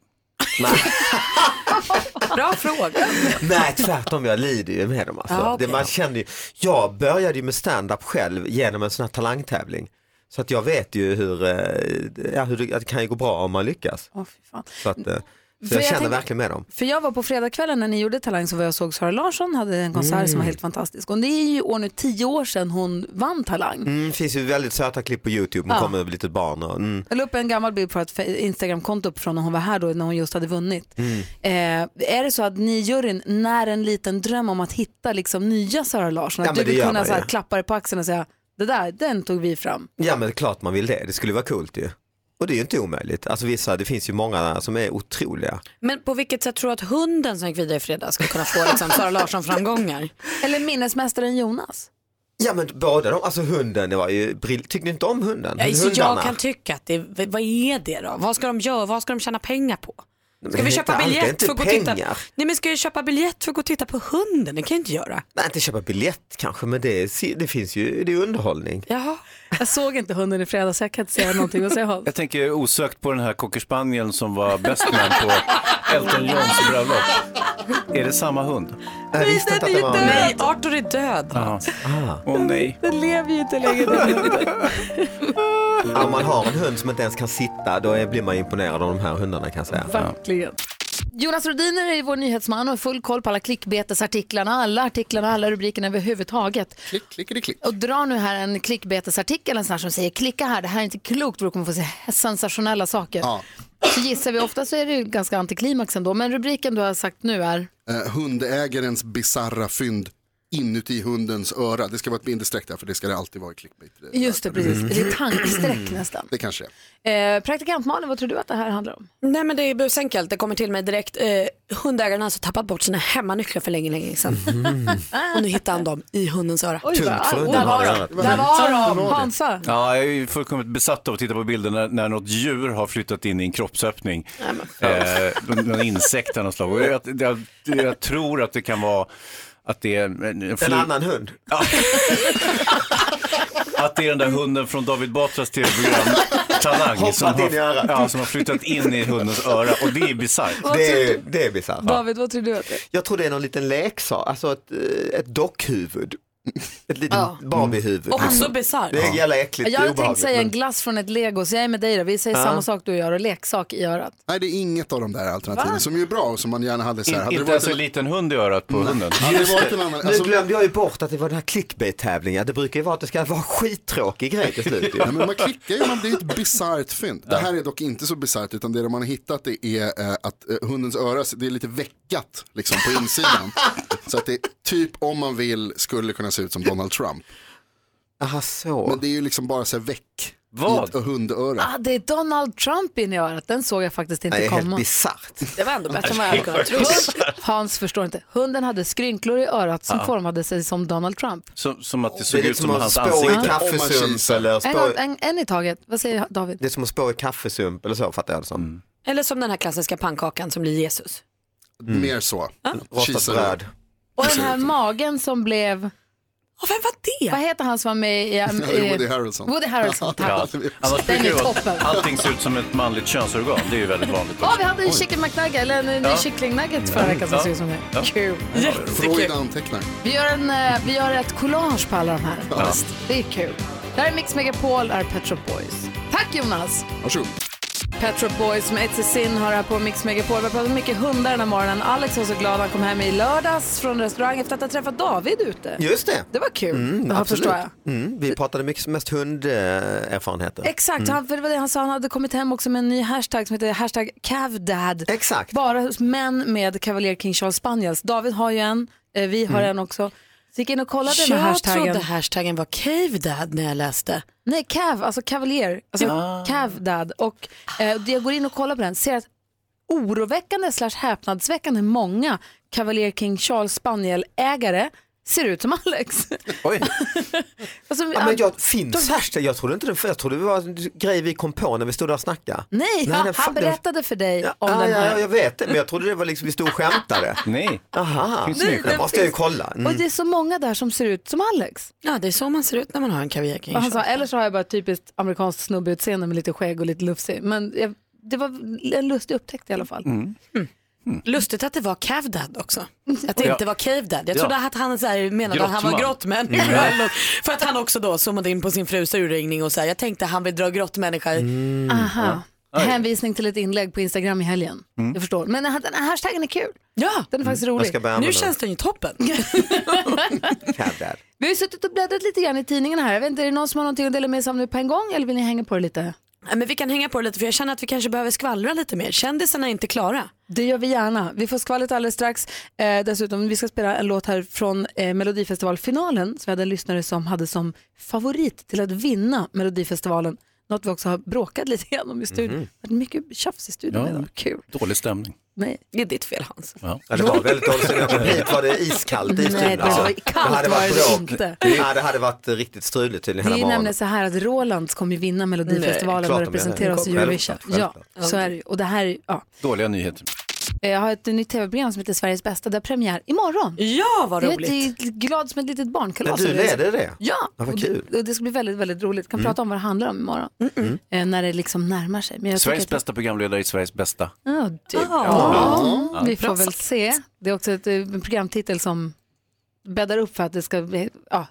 S3: Bra fråga.
S24: Nej tvärtom, jag lider ju med dem. Alltså.
S3: Ja, okej.
S24: det, man känner ju, jag började ju med stand-up själv genom en sån här talangtävling. Så att jag vet ju hur, eh, ja, hur det, att det kan ju gå bra om man lyckas.
S2: Åh, fy fan.
S24: Så, att, eh, så jag,
S2: För jag
S24: känner
S2: tänk-
S24: verkligen med dem.
S2: För jag var på fredagskvällen när ni gjorde Talang så var jag och såg Sara Larsson, hade en konsert som
S24: Mm.
S2: var helt fantastisk. Och det är ju år nu tio år sedan hon vann Talang.
S24: Mm, det finns ju väldigt söta klipp på YouTube, hon
S2: Ja.
S24: kommer med ett litet barn. Och, mm.
S2: Jag la upp en gammal bild på ett fe- Instagramkonto från när hon var här då, när hon just hade vunnit. Mm. Eh, är det så att ni i juryn när en liten dröm om att hitta liksom nya Sara Larsson?
S24: Ja,
S2: att du
S24: men det
S2: vill
S24: gör
S2: kunna
S24: man
S2: så här,
S24: ju.
S2: klappa dig på axeln och säga, det där, den tog vi fram.
S24: Ja men det är klart man vill det, det skulle vara coolt ju. Och det är ju inte omöjligt. Alltså vissa, det finns ju många som är otroliga.
S3: Men på vilket sätt tror du att hunden som gick vidare i fredags ska kunna få liksom, Sara Larsson-framgångar?
S2: Eller minnesmästaren Jonas.
S24: Ja men båda de, alltså hunden, det var ju brill... Tyckte ni inte om hunden?
S3: Ja, så
S24: Hundarna?
S3: jag kan tycka att det, vad är det då? Vad ska de göra? Vad ska de tjäna pengar på?
S24: Men
S3: Ska
S24: det
S3: vi
S24: är
S3: köpa
S24: inte allt, det är
S3: biljett
S24: inte
S3: för att gå och titta?
S24: pengar.
S3: Nej men ska vi köpa biljett för att gå och titta på hunden? Det kan jag inte göra.
S24: Nej inte köpa biljett kanske men det, är- det finns ju, det är underhållning.
S3: Jaha.
S2: Jag såg inte hunden i fredags, jag kan inte säga någonting. Vad säger Hans?
S4: Jag tänker osökt på den här cockerspanieln som var best man på Elton Johns bröllop. Är det samma hund?
S24: Jag visste inte att det var
S3: Nej, Arthur är död.
S4: Jaha. Ah. Åh nej.
S2: Den lever ju inte längre. den hunden.
S24: Om man har en hund som inte ens kan sitta då är, blir man imponerad av de här hundarna kan jag säga.
S2: Verkligen. Jonas Rhodiner är vår nyhetsman och har full koll på alla klickbetesartiklarna, alla artiklarna, alla rubrikerna överhuvudtaget.
S25: Klick, klick.
S2: Och drar nu här en klickbetesartikel en sån här som säger klicka här, det här är inte klokt, du kommer få se sensationella saker.
S25: Ja.
S2: så gissar vi. Ofta så är det ju ganska antiklimax ändå. Men rubriken du har sagt nu är?
S25: Eh, hundägarens bizarra fynd inuti hundens öra. Det ska vara ett bindestreck där för det ska det alltid vara i clickbait.
S2: Just det, precis.
S25: Mm.
S2: Eller tankstreck nästan.
S25: Det kanske är.
S2: Eh, praktikant Malin, vad tror du att det här handlar om?
S3: Nej men det är busenkelt, det kommer till mig direkt. Eh, hundägaren har alltså tappat bort sina hemmanycklar för länge, länge sedan. Och nu hittar han dem i hundens öra.
S2: Oj, vad- Tuntfoden där var
S4: de.
S2: Där var de, Hansa.
S4: Ja, jag är ju fullkomligt besatt av att titta på bilder när, när något djur har flyttat in i en kroppsöppning. Eh, någon- någon insekt av något slag. Och jag, jag, jag tror att det kan vara att det är en, en, fly-
S24: En annan hund.
S4: Att det är den där hunden från David Batras tv-program Talang
S24: Hoppat
S4: som
S24: in i örat.
S4: har, ja, som har flyttat in i hundens öra och det är bisarrt.
S24: Det är, det är bisarrt.
S2: David, vad tror du att det är?
S24: Jag tror det är någon liten leksak, alltså ett, eh, ett dockhuvud. Ett litet
S2: Ja. Mm.
S24: Barbiehuvud.
S2: Också
S24: liksom.
S2: bisarrt.
S24: Det är jävla äckligt
S2: Jag hade tänkt
S24: obehagligt,
S2: säga en
S24: men-
S2: glass från ett lego, så jag är med dig då. Vi säger
S25: Ja.
S2: samma sak du gör och leksak i örat.
S25: Nej, det är inget av de där alternativen
S2: Va?
S25: som ju är bra och som man gärna hade. Så här.
S4: In,
S25: hade
S4: inte ens en liten hund i örat på hunden.
S25: Hade det varit en annan, alltså,
S24: Nu glömde jag ju bort att det var den här clickbait-tävlingen. Det brukar ju vara att det ska vara en skittråkig grej till slut. ju.
S25: Ja, men man klickar ju, man blir ett bisarrt fynd. Det här är dock inte så bisarrt utan det man har hittat det är eh, att eh, hundens öra, det är lite veckat liksom på insidan. så att det typ om man vill skulle kunna se ut som Donald Trump.
S24: Aha, så.
S25: Men det är ju liksom bara så här väck.
S24: Vad?
S25: i ett hundöra.
S2: Ah, det är Donald Trump in i örat, den såg jag faktiskt inte
S25: Nej, helt
S2: komma.
S24: bisarrt.
S2: Det var ändå bättre än vad jag
S3: Det
S2: hade kunnat tro. Hans förstår inte. Hunden hade skrynklor i örat som
S4: Ja.
S2: formade sig som Donald Trump.
S4: Som, som att det
S24: Det är
S4: såg
S24: lite
S4: ut som
S24: som att
S4: hans
S24: spå i
S4: ansikte.
S24: kaffesump eller
S2: En,
S24: spå...
S2: en, en i taget. Vad säger David?
S24: Det är som att spå i kaffesump eller så fattar jag det som.
S3: Eller som den här klassiska pannkakan som blir Jesus.
S25: Mer så.
S24: Rostat
S25: Kisar.
S24: bröd.
S2: Och den här magen som blev... vem var det? Vad heter han som var med i...
S25: Ja, det är Woody Harrelson.
S2: Woody Harrelson,
S4: Ja.
S2: tack.
S4: Annars
S2: Den
S4: brukar
S2: är
S4: det vara
S2: toppen.
S4: att allting ser ut som ett manligt könsorgan, det är ju väldigt vanligt.
S2: Ja, vi hade en chicken McNugget, eller en en
S4: Ja.
S2: kycklingnugget förra veckan som
S4: Ja.
S2: såg ut som det.
S4: Ja.
S2: Kul.
S25: Freud antecknar.
S2: Vi gör, en, eh, vi gör ett collage på alla de här.
S25: Ja.
S2: Det är kul. Det här är Mix Megapol, är Pet Shop Boys. Tack Jonas!
S25: Varsågod.
S2: Pet Shop Boys med It's a Sin har här på Mix Megapol. Vi har pratat mycket hundar den här morgonen. Alex var så glad han kom hem i lördags från restaurang efter att ha träffat David ute.
S24: Just det.
S2: Det var kul.
S24: Mm,
S2: Ja,
S24: absolut.
S2: förstår jag.
S24: Mm, vi pratade mycket mest hunderfarenheter.
S2: Exakt, han, för det var det han sa. Han hade kommit hem också med en ny hashtag som heter hashtag cavdad.
S24: Exakt.
S2: Bara män med Cavalier King Charles Spaniels. David har ju en, eh, vi har
S3: Mm.
S2: en också. Så gick jag in och kollade den
S3: jag
S2: här hashtaggen.
S3: trodde hashtaggen var cave dad när jag läste.
S2: Nej, cav, alltså cavalier. Alltså cav dad. Och eh, jag går in och kollar på den, ser att oroväckande slash häpnadsväckande många Cavalier King Charles Spaniel-ägare ser ut som Alex.
S24: Oj.
S2: Alltså,
S24: Ja, men jag, finns
S2: de-
S24: hashtag? Jag trodde inte det, jag trodde det var en grej vi kom på när vi stod där och snackade.
S2: Nej,
S24: Nej, den fa-
S2: han
S24: den-
S2: berättade för dig Mm, om
S24: ja,
S2: den här.
S24: ja, jag vet det, men jag trodde det var liksom vi stod och skämtade.
S4: Nej.
S24: Aha,
S2: Finns det ingen
S24: det
S2: skämt?
S24: måste jag ju kolla. Mm.
S2: Och det är så många där som ser ut som Alex.
S3: Ja, det är så man ser ut när man har en kaviar
S2: Och han sa, eller så har jag bara ett typiskt amerikanskt snubbeutseende med lite skägg och lite lufsig. Men jag, det var en lustig upptäckt i alla fall.
S24: Mm.
S3: Lustigt att det var cave dad också. Att det
S2: Ja.
S3: inte var cave dad. Jag
S2: Ja.
S3: trodde att han så här, menade att han var
S2: Grottman.
S3: grottmänniska.
S2: Mm.
S3: eller något. För att han också då zoomade in på sin frus urringning och så här, jag tänkte han vill dra grottmänniska.
S2: Aha.
S3: Ja. Aj.
S2: Hänvisning till ett inlägg på Instagram i helgen. Jag förstår. Men den här- den här hashtaggen är kul.
S3: Ja.
S2: Den är faktiskt
S24: Mm. Jag ska
S2: rolig.
S24: börja Nu använda känns
S3: den ju toppen.
S24: Hävdar.
S2: Vi har ju suttit och bläddrat lite grann i tidningen här. Jag vet inte, är det någon som har någonting att dela med sig av nu på en gång eller vill ni hänga på det lite?
S3: Nej, Men vi kan hänga på det lite för jag känner att vi kanske behöver skvallra lite mer. Kändisarna är inte klara.
S2: Det gör vi gärna. Vi får skvallret alldeles strax. Eh, dessutom, vi ska spela en låt här från eh, Melodifestivalfinalen. Så vi hade en lyssnare som hade som favorit till att vinna Melodifestivalen. Något vi också har bråkat lite grann om i studion.
S4: Mhm.
S2: Det var mycket tjafs i studion idag. Kul.
S4: Dålig stämning.
S2: Nej.
S3: Det är ditt fel Hans.
S4: Ja.
S24: Ja, det var väldigt dåligt. När jag kom hit var det iskallt i
S2: Nej,
S24: studion. alltså.
S2: det var- kallt var det inte.
S24: Ja, det hade varit riktigt struligt tydligen
S2: Det är
S24: hela
S2: ju nämligen
S24: morgonen.
S2: så här att Rolands kommer ju vinna Melodifestivalen och
S24: Klart de gör det.
S2: representera oss i
S24: Självklart,
S2: Eurovision. Ja,
S24: självklart.
S2: så är det ju. Och det här, är ju- ja. Eh,
S4: Dåliga nyheter.
S2: Jag har ett nytt tv-program som heter Sveriges bästa, där premiär imorgon.
S3: Ja,
S24: vad roligt.
S2: Jag är lite glad som ett litet barnkalas.
S24: Men du leder Alltså, det?
S2: Ja,
S24: Ja, vad
S2: och
S24: kul.
S2: Det, och det ska bli väldigt, väldigt roligt. Kan
S4: Mm.
S2: prata om vad det handlar om imorgon,
S4: Mm.
S2: eh, när det liksom närmar sig. Men jag
S4: Sveriges
S2: tycker att- Mm.
S4: bästa programledare i Sveriges bästa.
S2: Ja, du.
S24: Ah.
S4: Ja.
S2: Ja, Vi får väl se. Det är också ett, eh, en programtitel som bäddar upp för att det ska bli, ja.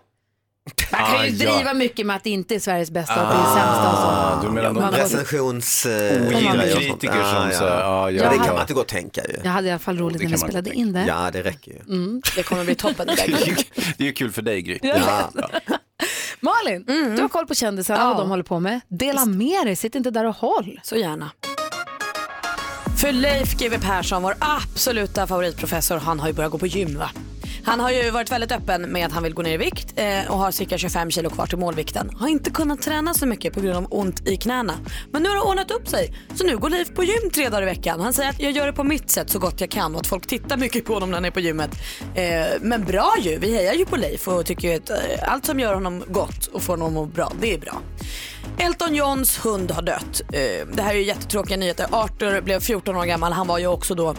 S2: Man kan ju
S24: Ah, ja. Ah,
S2: driva mycket med att det inte är Sveriges bästa, att det är sämsta och så.
S4: Du menar
S2: Man
S4: de
S2: måste-
S24: Recensions... eh,
S4: Ogina
S24: grejer och sånt. Ah,
S4: kritiker som
S24: Ja, ja.
S4: så här, ja,
S24: Ja, det
S2: Jag
S24: kan
S2: hade-
S24: man inte gå och tänka ju.
S2: Jag hade i alla fall roligt
S24: Det
S2: när vi
S24: kan man
S2: spelade
S24: tänka.
S2: in det.
S24: Ja, det räcker ju.
S2: Mm.
S3: Det kommer bli toppen.
S4: Det är ju kul för dig Gry.
S2: Jag vet. Malin, du har koll på kändisarna och vad de håller på med. Dela med dig, sitt inte där och håll.
S3: Så gärna. För Leif GW Persson, vår absoluta favoritprofessor, han har ju börjat gå på gym va? Han har ju varit väldigt öppen med att han vill gå ner i vikt eh, och har cirka 25 kilo kvar till målvikten. Har inte kunnat träna så mycket på grund av ont i knäna. Men nu har det ordnat upp sig. Så nu går Leif på gym tre dagar i veckan. Han säger att jag gör det på mitt sätt så gott jag kan och att folk tittar mycket på honom när han är på gymmet. Eh, men bra ju, vi hejar ju på Leif och tycker ju att eh, allt som gör honom gott och får honom att må bra, det är bra. Elton Johns hund har dött. Eh, Det här är ju jättetråkiga nyheter. Arthur blev 14 år gammal. Han var ju också då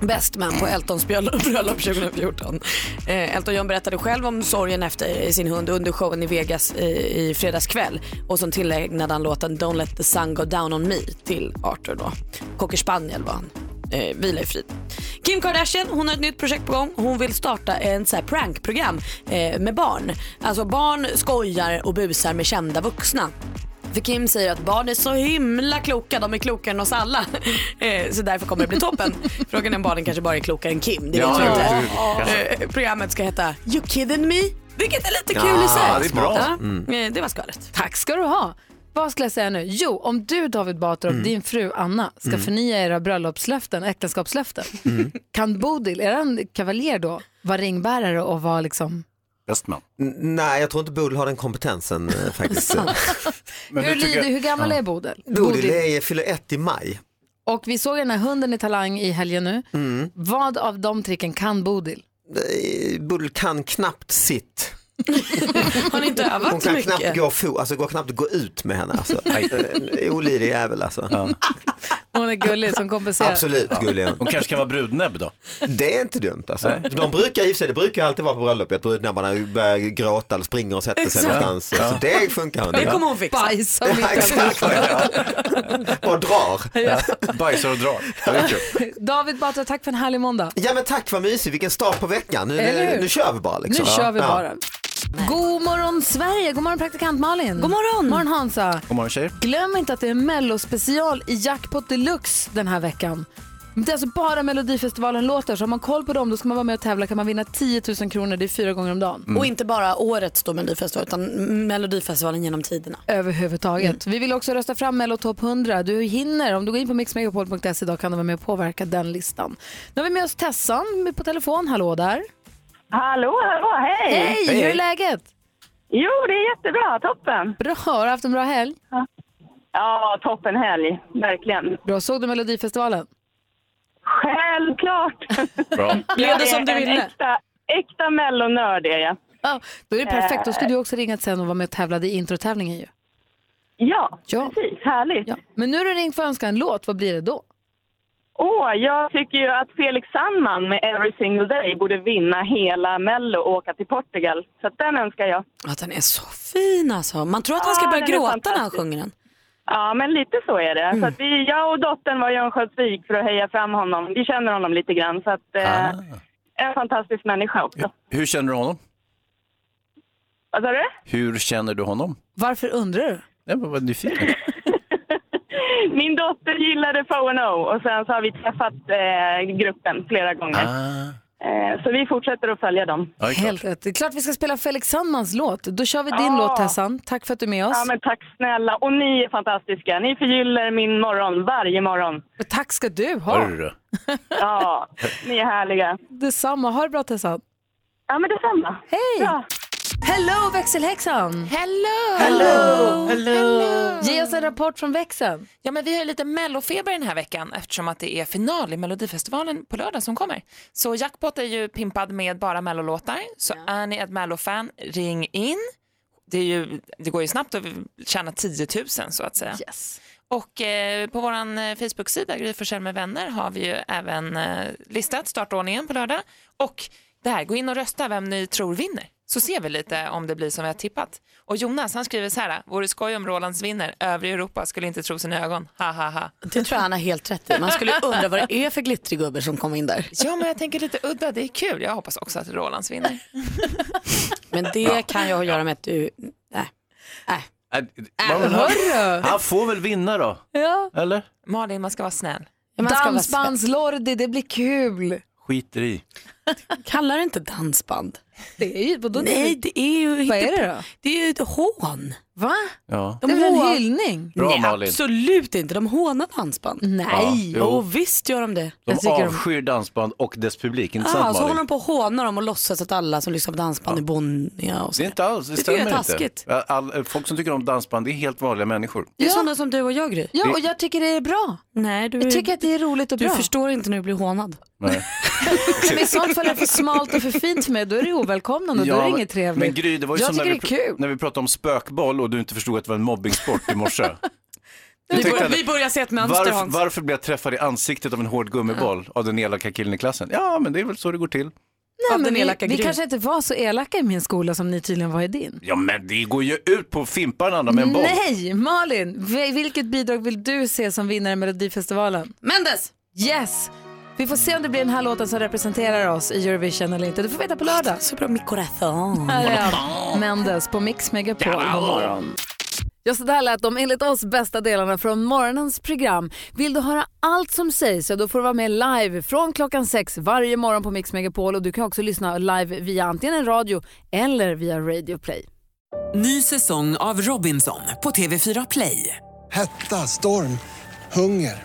S3: bäst man på Eltons bröll- bröllop 2014. Eh, Elton John berättade själv om sorgen efter sin hund under showen i Vegas i, i fredags kväll. Och som tillägnade han låten Don't let the sun go down on me till Arthur då. Cocker spaniel var han. Eh, vila i frid. Kim Kardashian hon har ett nytt projekt på gång. Hon vill starta en så här prankprogram eh, med barn. Alltså barn skojar och busar med kända vuxna. För Kim säger att barn är så himla kloka, de är klokare än oss alla. Eh, Så därför kommer det bli toppen. Frågan är om barnen kanske bara är klokare än Kim, det vet
S5: Ja,
S3: vi
S5: ja,
S3: inte.
S5: ja.
S3: Eh, Programmet ska heta You kidding me? Vilket är lite
S2: Ja,
S3: kul i sig.
S2: det är bra.
S3: Ja,
S2: Mm.
S3: eh, Det var skvallret.
S2: Tack ska du ha. Vad skulle jag säga nu? Jo, om du David Batra och
S3: Mm.
S2: din fru Anna ska
S3: Mm.
S2: förnya era bröllopslöften, äktenskapslöften,
S24: Mm.
S2: kan Bodil, er kavaljer då, vara ringbärare och vara liksom...
S4: Bästman.
S24: Nej, jag tror inte Bodil har den kompetensen eh, faktiskt. Men
S2: hur,
S24: du tycker-
S2: lyder, hur gammal
S24: Ja.
S2: är Bodil?
S24: Bodil är, fyller ett i maj.
S2: Och vi såg den här hunden i Talang i helgen nu.
S24: Mm.
S2: Vad av de tricken kan Bodil?
S24: Eh, Bodil kan knappt sitt.
S3: Har ni inte övat
S24: Hon kan
S3: mycket?
S24: knappt gå, fo- alltså, går knappt gå ut med henne. Alltså. Eh, Olidlig jävel alltså.
S2: Hon är gullig som kompenserar.
S24: Absolut gullig
S4: Hon kanske kan vara brudnäbb då?
S24: Det är inte dumt alltså.
S4: Nej.
S24: De brukar i och för sig, det brukar alltid vara på bröllop, jag tror när man börjar gråta eller springer och sätter sig
S4: Exakt.
S24: någonstans.
S4: Ja.
S24: Så det funkar hon.
S4: Det kommer
S3: hon fixa.
S2: Bajsa
S24: Ja,
S2: mitt
S24: exakt. Och drar.
S2: Ja.
S4: Bajsar och drar.
S2: David Batra, tack för en härlig måndag.
S24: Ja men tack vad mysigt, vilken start på veckan. Nu,
S2: Eller
S24: nu,
S2: hur?
S24: nu kör vi bara liksom.
S2: Nu kör vi
S24: Ja.
S2: bara. God morgon Sverige, god morgon praktikant Malin. God morgon. morgon Hansa.
S4: God morgon tjejer.
S2: Glöm inte att det är mellospecial i Jackpot Deluxe den här veckan. Det är alltså bara Melodifestivalen-låtar, så har man koll på dem då ska man vara med och tävla kan man vinna 10 000 kronor, det är fyra gånger om dagen.
S3: Och inte bara årets då Melodifestival utan Melodifestivalen genom tiderna.
S2: Överhuvudtaget. Vi vill också rösta fram Mello Top 100. Du hinner, om du går in på mixmegapol.se idag kan du vara med och påverka den listan. Nu har vi med oss Tessan med- på telefon, hallå där.
S9: Hallå, hallå, hej!
S2: Hej,
S9: Hej,
S2: hur är
S9: hej.
S2: läget?
S9: Jo, det är jättebra, toppen!
S2: Bra, har du haft en bra helg?
S9: Ja, toppen helg, verkligen.
S2: Bra, såg du Melodifestivalen?
S9: Självklart!
S4: Bra.
S2: Blev det
S9: Jag är
S2: som du
S9: en
S2: ville?
S9: Äkta, äkta mellonörd är jag.
S2: Ja, Då är det perfekt, då skulle du också ringa sen och vara med och tävla i introtävlingen ju.
S9: Ja,
S2: Ja.
S9: precis, härligt.
S2: Ja. Men nu är du ringt för att önska en låt, vad blir det då?
S9: Åh, jag tycker ju att Felix Sandman med Every single day borde vinna hela Mello och åka till Portugal. Så att den önskar jag.
S3: Att den är så fin alltså. Man tror att han ska
S9: Ja,
S3: börja
S9: den är
S3: gråta när han
S9: fantastisk.
S3: sjunger den.
S9: Ja, men lite så är det. Så att vi, jag och dottern var i Örnsköldsvik för att heja fram honom. Vi känner honom lite grann, så att... Eh, En fantastisk människa också.
S4: Ah. Hur känner du honom?
S9: Vad sa du?
S4: Hur känner du honom?
S2: Varför undrar du?
S4: Jag var nyfiken.
S9: Min dotter gillade 4NO och sen så har vi träffat eh, gruppen flera gånger.
S4: Ah.
S9: Eh, så vi fortsätter att följa dem.
S2: Helt rätt. Det är klart vi ska spela Felix Sandmans låt. Då kör vi din
S9: Ja.
S2: låt Tessan. Tack för att du är med oss.
S9: Ja, men tack snälla. Och ni är fantastiska. Ni förgyller min morgon varje morgon.
S2: Tack ska du ha.
S4: Hörru.
S9: Ja, ni är härliga.
S2: Detsamma. Ha det bra Tessan.
S9: Ja, men detsamma.
S2: Hej! Hello växelhäxan!
S11: Hello!
S2: Hello!
S11: Hello!
S2: Ge oss en rapport från växeln.
S11: Ja, men vi har ju lite mellofeber den här veckan eftersom att det är final i Melodifestivalen på lördag som kommer. Så Jackpot är ju pimpad med bara mellolåtar. Så är ni ett mellofan, ring in. Det, är ju, det går ju snabbt att tjäna 10 000 så att säga. Och eh, på vår Facebook-sida, Gry Forssell med vänner, har vi ju även eh, listat startordningen på lördag. Och det här, gå in och rösta vem ni tror vinner. Så ser vi lite om det blir som vi har tippat. Och Jonas han skriver så här, vore skoj om Rolands vinner, övrig Europa skulle inte tro sina ögon, ha ha ha.
S3: Det tror jag han har helt rätt i. Man skulle undra vad det är för glittrig gubbe som kom in där.
S11: Ja men jag tänker lite udda, det är kul. Jag hoppas också att Rolands vinner.
S3: Men det kan jag ha att göra med att du... Nej. Nej.
S4: Äh,
S3: men hörru.
S4: Han får väl vinna då?
S2: Ja.
S4: Eller?
S11: Malin, man ska vara snäll.
S2: Dansbandslordi, det blir kul.
S4: Skiter i.
S3: Kallar det inte dansband?
S1: Det är ju, vadå?
S3: Nej, det är ju...
S1: Vad är det då?
S3: Det är ju ett hån.
S1: Va?
S4: Ja.
S1: Det är väl en
S3: hån-
S1: hyllning?
S4: Bra,
S3: Nej,
S4: Malin.
S3: absolut inte. De hånar dansband.
S4: Nej. Ja, jo.
S3: jo visst gör de det.
S4: De avskyr dansband och dess publik, inte sant
S3: Ah, så
S4: Malin?
S3: håller de på och hånar dem och låtsas att alla som lyssnar på dansband är bonniga och så.
S4: Det är inte alls, det,
S3: Det tycker jag är
S4: stämmer inte.
S3: taskigt.
S4: All, folk som tycker om dansband, det är helt vanliga människor.
S3: Det är sådana som du och jag Gry.
S1: Ja, och jag tycker det är bra.
S3: Nej, du
S1: Jag
S3: är-
S1: tycker att det är roligt och
S3: Du
S1: bra.
S3: förstår inte när du blir hånad.
S4: Nej.
S1: Men i sånt fall är det för smalt och för fint för mig, då är det ovälkomnande och då är det
S4: men-
S1: inget trevligt.
S4: Men Gry, det var ju
S1: jag
S4: som när
S1: tycker
S4: vi,
S1: det är kul.
S4: när vi pratade om spökboll och du inte förstod att det var en mobbingsport i morse. Du
S3: Vi,
S4: tyckte
S3: bör,
S4: att-
S3: vi börjar se ett mönster
S4: Varför,
S3: Hans.
S4: varför blir jag träffad i ansiktet av en hård gummiboll av den elaka killen i klassen? Ja, men det är väl så det går till.
S1: Nej,
S3: Av
S1: men
S3: den
S1: vi,
S3: elaka
S1: vi
S3: Gry.
S1: kanske inte var så elaka i min skola som ni tydligen var i din.
S4: Ja, men det går ju ut på att fimpa den andra med en boll.
S1: Nej, Malin, vi- vilket bidrag vill du se som vinnare i Melodifestivalen?
S3: Mendes!
S1: Yes! Vi får se om det blir den här låten som representerar oss i Eurovision eller inte. Du får veta på lördag.
S3: Så bra, mi corazón.
S1: Här är han, Mendes på Mix Megapol. God morgon. Ja, så där lät de enligt oss bästa delarna från morgonens program. Vill du höra allt som sägs så då får du vara med live från klockan sex varje morgon på Mix Megapol och du kan också lyssna live via antingen radio eller via Radio Play.
S2: Ny säsong av Robinson på TV4 Play.
S9: Hetta, storm, hunger.